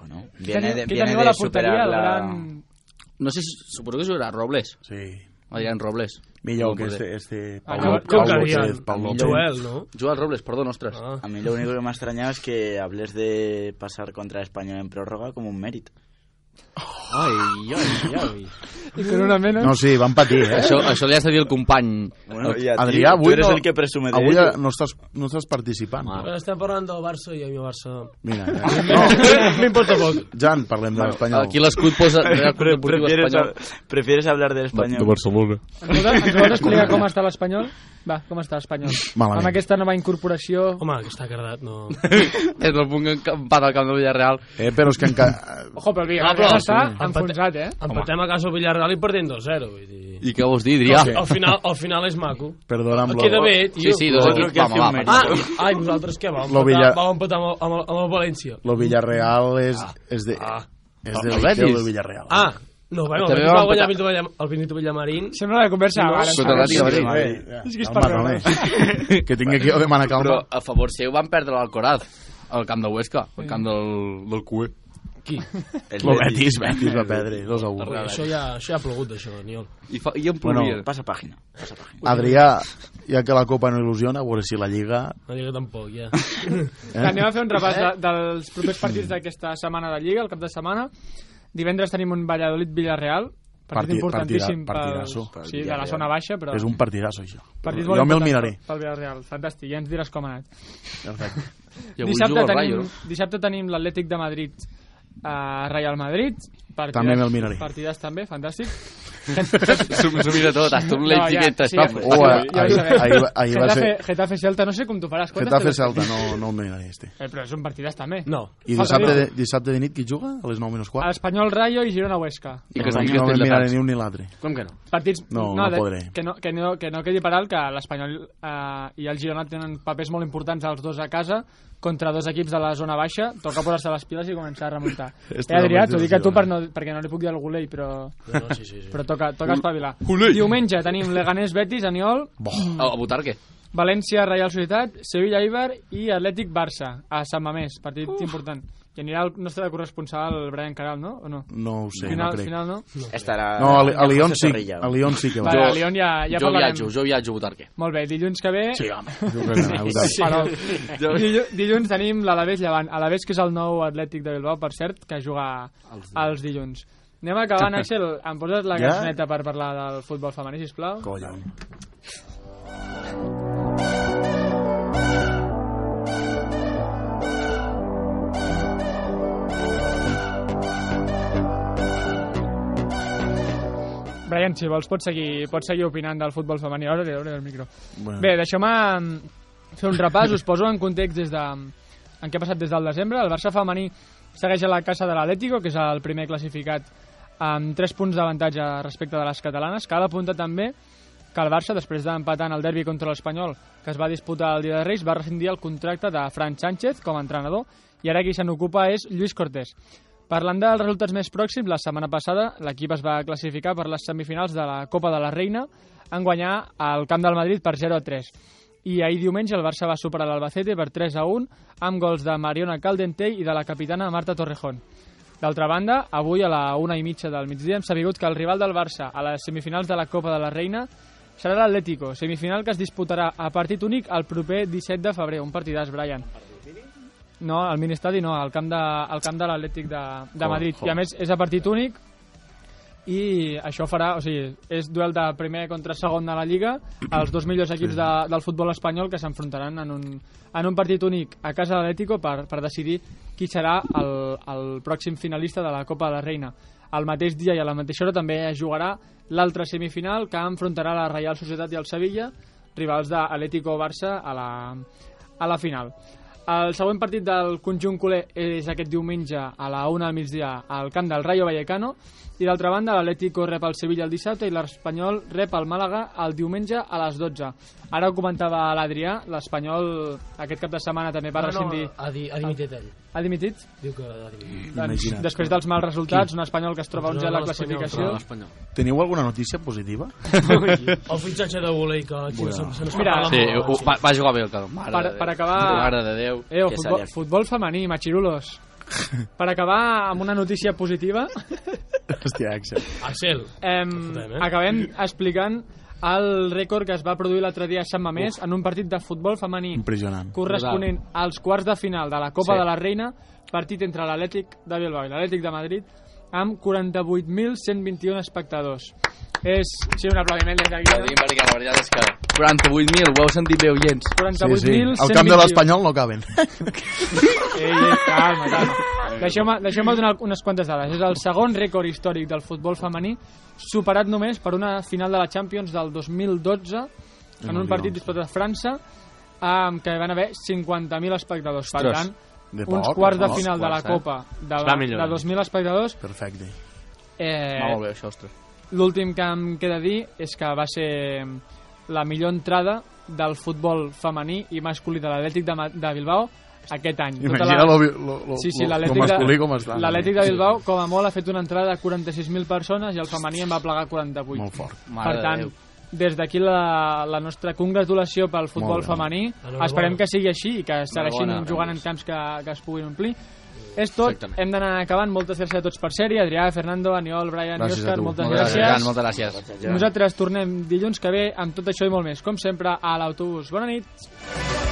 Speaker 4: Bueno,
Speaker 1: Qui
Speaker 4: viene
Speaker 1: teniu-
Speaker 4: de,
Speaker 1: qui
Speaker 4: viene
Speaker 1: teniu a
Speaker 4: de
Speaker 1: la porteria?
Speaker 4: superar
Speaker 1: El
Speaker 4: la...
Speaker 1: gran...
Speaker 5: No sé, si- suposo que jugarà Robles.
Speaker 6: Sí.
Speaker 5: Adrián Robles.
Speaker 6: Millor
Speaker 5: Bon
Speaker 6: que
Speaker 5: porter.
Speaker 6: este, este
Speaker 1: Ah,
Speaker 6: Pau,
Speaker 1: com-
Speaker 6: Pau
Speaker 1: com
Speaker 3: que
Speaker 6: López.
Speaker 3: havien-
Speaker 6: Pau López.
Speaker 3: Joel, no?
Speaker 5: Joel Robles, perdó, ostres.
Speaker 3: Ah.
Speaker 4: A mí lo único que me ha extrañado es que hables de pasar contra España en prórroga como un mérito.
Speaker 5: Ai, ai, ai.
Speaker 1: I con una menos...
Speaker 6: No, sí, van patir, eh?
Speaker 5: això, això li has de dir al company.
Speaker 4: Bueno, y a ti,
Speaker 6: Adrià,
Speaker 4: tú
Speaker 6: avui
Speaker 4: eres
Speaker 6: no,
Speaker 4: el que presume de
Speaker 6: avui
Speaker 4: ello.
Speaker 6: no estàs, no estàs participant.
Speaker 8: Mare.
Speaker 3: Però estem parlant del Barça i a mi el Barça...
Speaker 6: Mira, ja. no,
Speaker 3: M'importa poc.
Speaker 6: Jan, parlem de l'Espanyol.
Speaker 5: Aquí l'escut posa...
Speaker 4: Pre-
Speaker 5: Real Club Deportiu
Speaker 4: prefieres,
Speaker 5: Espanyol.
Speaker 4: hab- prefieres hablar del español.
Speaker 8: Barcelona.
Speaker 1: Ens vols, ens vols explicar com està l'Espanyol? Va, com està l'Espanyol?
Speaker 6: Malament.
Speaker 1: Amb aquesta nova incorporació...
Speaker 3: Home, que està cardat, no...
Speaker 5: És el punt que empat al camp del Villarreal.
Speaker 6: Eh, però és que encara...
Speaker 1: Ojo, però el
Speaker 3: Ah, però-
Speaker 1: Villarreal està
Speaker 3: sí.
Speaker 1: enfonsat, eh?
Speaker 3: Empatem a casa al Villarreal i perdem 2-0, vull dir...
Speaker 5: I què vols dir, Adrià?
Speaker 6: Sí.
Speaker 3: Al final, al final és maco.
Speaker 6: Perdona, amb
Speaker 3: Queda
Speaker 6: lo,
Speaker 3: bé,
Speaker 5: Sí,
Speaker 3: tio.
Speaker 5: sí, doncs. dos
Speaker 4: Otro
Speaker 5: equips.
Speaker 4: que hace
Speaker 5: Vamos,
Speaker 4: un
Speaker 5: va,
Speaker 4: mérito.
Speaker 5: va.
Speaker 3: Ah, ai, vosaltres què? Vau
Speaker 6: Lo
Speaker 3: empatar,
Speaker 6: Villa-
Speaker 3: vau empatar amb el, amb el, amb el València.
Speaker 6: lo Villarreal és, és de...
Speaker 3: Ah.
Speaker 6: És de
Speaker 5: El
Speaker 6: Liceu
Speaker 5: Betis.
Speaker 6: del Villarreal.
Speaker 3: Ah, no, bueno, el
Speaker 5: També
Speaker 3: Betis
Speaker 5: vau
Speaker 3: va guanyar
Speaker 5: empatar.
Speaker 3: Benito Villa- el Benito Villamarín.
Speaker 1: Sembla la conversa
Speaker 3: No,
Speaker 1: ara.
Speaker 5: Sota l'Atlètic de Madrid.
Speaker 6: Bé, ja,
Speaker 1: És que és
Speaker 6: calma,
Speaker 1: per veure.
Speaker 6: calma. Que tinc aquí el de Mana
Speaker 5: Però
Speaker 6: Calma.
Speaker 5: a favor seu van perdre l'Alcoraz al camp de Huesca, al camp del, del QE.
Speaker 3: Qui?
Speaker 4: El
Speaker 6: Lo
Speaker 4: Betis.
Speaker 6: Betis, Betis va perdre, 2 a
Speaker 3: Ui,
Speaker 6: 1.
Speaker 3: això, ja, això ja ha plogut, això, Daniel.
Speaker 5: I, fa, i en plovia.
Speaker 4: Pasa página. Pasa página.
Speaker 6: Adrià, ja que la Copa no il·lusiona, a veure si la Lliga... eh,
Speaker 3: No dic que tampoc, ja.
Speaker 1: Anem a fer un
Speaker 4: Eh?
Speaker 1: repàs de, dels propers partits d'aquesta setmana de Lliga, el cap de setmana. Divendres tenim un Valladolid-Villarreal, partit
Speaker 6: Parti-
Speaker 1: importantíssim
Speaker 6: partida- partidasso.
Speaker 1: pel, sí, de la zona baixa, però...
Speaker 6: És un partidazo, això.
Speaker 1: partit molt
Speaker 6: jo me'l
Speaker 1: important
Speaker 6: miraré.
Speaker 1: Pel Villarreal, fantàstic, ja ens diràs com ha anat.
Speaker 6: Perfecte.
Speaker 5: I avui juga el Rayo.
Speaker 1: tenim, dissabte tenim l'Atlètic de Madrid a Real Madrid. Partides,
Speaker 6: També me'l miraré.
Speaker 1: Partides també, fantàstic.
Speaker 5: S'ho s'ho mira tot, hasta un leig i que
Speaker 1: sí,
Speaker 5: t'està...
Speaker 1: ja ho
Speaker 6: Ua,
Speaker 1: sabem, ja ho
Speaker 6: Oh, ahir-
Speaker 1: sabem.
Speaker 6: ahir va- ahir va
Speaker 1: Getafe-
Speaker 6: ser-
Speaker 1: Getafe-Celta, no sé com t'ho faràs. quantes
Speaker 6: Getafe
Speaker 1: teves-
Speaker 6: Celta, no, no el miraré, este.
Speaker 1: Eh, però són partides també.
Speaker 3: No.
Speaker 6: I
Speaker 1: Falta Ah,
Speaker 6: dissabte de,
Speaker 1: dir-ho.
Speaker 6: dissabte de nit qui juga? A les 9 minus 4?
Speaker 1: Espanyol Rayo i Girona Huesca.
Speaker 5: I
Speaker 6: no,
Speaker 5: que estic
Speaker 6: no me'l miraré ni
Speaker 5: castelldefans.
Speaker 6: un ni l'altre.
Speaker 5: Com que no?
Speaker 1: Partits...
Speaker 6: No, no
Speaker 1: de-
Speaker 6: podré.
Speaker 1: Que no, que, no, que no quedi per alt que l'Espanyol eh, i el Girona tenen papers molt importants els dos a casa contra dos equips de la zona baixa. Toca posar-se les piles i començar a remuntar.
Speaker 6: Esto
Speaker 1: eh, Adrià,
Speaker 6: realmente
Speaker 1: t'ho dic a tu
Speaker 6: funciona.
Speaker 1: per no, perquè no li puc dir al Gulei, però,
Speaker 3: No, no, sí, sí, sí.
Speaker 1: però toca, toca espavilar. Diumenge tenim Leganés-Betis, Aniol,
Speaker 5: A, a votar què?
Speaker 1: València-Reial Societat, Sevilla-Ibar i Atlètic-Barça a Sant Mamés, partit important. I anirà el nostre corresponsal, el Brian Caral, no? O no?
Speaker 6: No ho sé,
Speaker 1: final,
Speaker 6: no crec.
Speaker 1: final no?
Speaker 4: Estará.
Speaker 6: No, a, Li- a Lyon
Speaker 4: José
Speaker 6: sí,
Speaker 4: Zorrilla.
Speaker 6: a Lyon sí que va.
Speaker 1: Vale,
Speaker 5: Jo-
Speaker 1: a Lyon ja, ja
Speaker 5: jo
Speaker 1: parlarem.
Speaker 5: viatjo, jo viatjo a votar què?
Speaker 1: Molt bé, dilluns que ve...
Speaker 6: Sí, home. Jo crec que aneu
Speaker 1: Sí.
Speaker 6: de-
Speaker 1: Però, dilluns, dilluns tenim l'Alavés Llevant. Alavés, que és el nou Atlètic de Bilbao, per cert, que juga els dilluns. Anem acabant, Axel. Em poses la
Speaker 6: Ja?
Speaker 1: cançoneta per parlar del futbol femení, sisplau?
Speaker 6: Collons.
Speaker 1: Brian, si vols, pots seguir, pots seguir opinant del futbol femení. Ara li dono el micro.
Speaker 6: Bueno.
Speaker 1: Bé, deixeu-me mm, fer un repàs, us poso en context des de, en què ha passat des del desembre. El Barça femení segueix a la casa de l'Atlético, que és el primer classificat amb 3 punts d'avantatge respecte de les catalanes. Cal apuntar també que el Barça, després d'empatar en el derbi contra l'Espanyol, que es va disputar el dia de Reis, va rescindir el contracte de Fran Sánchez com a entrenador i ara qui se n'ocupa és Lluís Cortés. Parlant dels resultats més pròxims, la setmana passada l'equip es va classificar per les semifinals de la Copa de la Reina en guanyar al Camp del Madrid per 0 a 3. I ahir diumenge el Barça va superar l'Albacete per 3 a 1 amb gols de Mariona Caldentey i de la capitana Marta Torrejón. D'altra banda, avui a la una i mitja del migdia hem sabut que el rival del Barça a les semifinals de la Copa de la Reina serà l'Atlético, semifinal que es disputarà a partit únic el proper 17 de febrer. Un partidàs, Brian. No, al mini-estadi no, al camp de, al camp de l'Atlètic de, de Madrid. I a més és a partit únic i això farà, o sigui, és duel de primer contra segon de la Lliga, els dos millors equips de, del futbol espanyol que s'enfrontaran en, un, en un partit únic a casa de l'Atlético per, per decidir qui serà el, el pròxim finalista de la Copa de la Reina. el mateix dia i a la mateixa hora també es jugarà l'altra semifinal que enfrontarà la Reial Societat i el Sevilla, rivals de Atlético Barça a la, a la final. El següent partit del conjunt culer és aquest diumenge a la 1 del migdia al camp del Rayo Vallecano i d'altra banda l'Atlético rep el Sevilla el dissabte i l'Espanyol rep el Màlaga el diumenge a les 12. Ara ho comentava l'Adrià, l'Espanyol aquest cap de setmana també va rescindir...
Speaker 3: ha, di, ha dimitit ell.
Speaker 1: Ha dimitit?
Speaker 3: Diu que ha dimitit.
Speaker 1: Doncs,
Speaker 6: Imagina't.
Speaker 1: després dels mals resultats, un espanyol que es troba 11
Speaker 3: Contra
Speaker 1: a la
Speaker 3: l'Espanyol,
Speaker 1: classificació...
Speaker 6: Teniu alguna notícia positiva?
Speaker 3: El fitxatge de volei que aquí bueno. se, se nos
Speaker 1: Mira,
Speaker 3: parla
Speaker 5: Sí,
Speaker 3: molt.
Speaker 5: ho- Eh, uh, va, va jugar bé el Caló. Mare
Speaker 1: Per-
Speaker 5: de Déu.
Speaker 1: per acabar-
Speaker 5: Mare de Déu.
Speaker 1: Eh, o
Speaker 4: Que
Speaker 1: futbol,
Speaker 4: s'allargui.
Speaker 1: futbol femení, machirulos. Per acabar amb una notícia positiva,
Speaker 6: Hòstia, Axel.
Speaker 3: Axel,
Speaker 1: em,
Speaker 3: fotem, eh?
Speaker 1: acabem explicant el rècord que es va produir l'altre dia a Sant Mamés en un partit de futbol femení
Speaker 6: Impressionant.
Speaker 1: corresponent als quarts de final de la Copa
Speaker 5: Sí.
Speaker 1: de la Reina, partit entre l'Atlètic de Bilbao i l'Atlètic de Madrid, amb 48.121 espectadors. És, sí, un aplaudiment des d'aquí.
Speaker 5: Aplaudim perquè la veritat és que 48.000, ho heu sentit bé, oients.
Speaker 1: 48.121.
Speaker 6: Al camp de l'Espanyol no caben.
Speaker 1: Ei, ei, calma, calma. Deixeu-me deixeu donar unes quantes dades. És el segon rècord històric del futbol femení, superat només per una final de la Champions del 2012, en un partit disputat a França, amb què van haver 50.000 espectadors. Per
Speaker 5: Ostres,
Speaker 1: tant,
Speaker 6: de
Speaker 1: uns
Speaker 6: poc,
Speaker 1: quarts de
Speaker 6: no?
Speaker 1: final de la
Speaker 5: Quarts, eh?
Speaker 1: Copa de,
Speaker 8: va
Speaker 1: de
Speaker 8: millorant.
Speaker 1: 2.000 espectadors.
Speaker 6: Perfecte.
Speaker 1: Tota
Speaker 5: Va
Speaker 1: Eh,
Speaker 5: molt bé, això, ostres.
Speaker 1: L'últim que em queda dir és que va ser la millor entrada del futbol femení i masculí de l'Atlètic de, Ma- de Bilbao aquest any. Tota
Speaker 6: Imagina
Speaker 1: la-
Speaker 6: lo, vi- lo, lo,
Speaker 1: Sí, sí,
Speaker 6: lo- lo
Speaker 1: l'Atlètic
Speaker 6: masculí
Speaker 1: de,
Speaker 6: com està.
Speaker 1: l'Atlètic de Bilbao, com a molt, ha fet una entrada de 46.000 persones i el femení en va plegar 48.
Speaker 6: Molt fort.
Speaker 5: Mare
Speaker 1: per
Speaker 5: de
Speaker 1: tant,
Speaker 5: Déu.
Speaker 1: des d'aquí la, la nostra congratulació pel futbol
Speaker 6: bé.
Speaker 1: femení.
Speaker 3: Enhorabona.
Speaker 1: Esperem que sigui així i que segueixin
Speaker 5: Enhorabona,
Speaker 1: jugant en
Speaker 5: Reus.
Speaker 1: camps que, que es puguin omplir. És tot,
Speaker 5: Exactament.
Speaker 1: hem d'anar acabant. Moltes gràcies a tots per ser-hi. Adrià, Fernando, Aniol, Brian i
Speaker 6: Gràcies a
Speaker 1: Òscar,
Speaker 6: tu.
Speaker 1: moltes
Speaker 5: Moltes gràcies.
Speaker 1: gràcies.
Speaker 5: Jan, moltes gràcies.
Speaker 1: Nosaltres tornem dilluns que ve amb tot això i molt més. Com sempre, a l'autobús. Bona nit.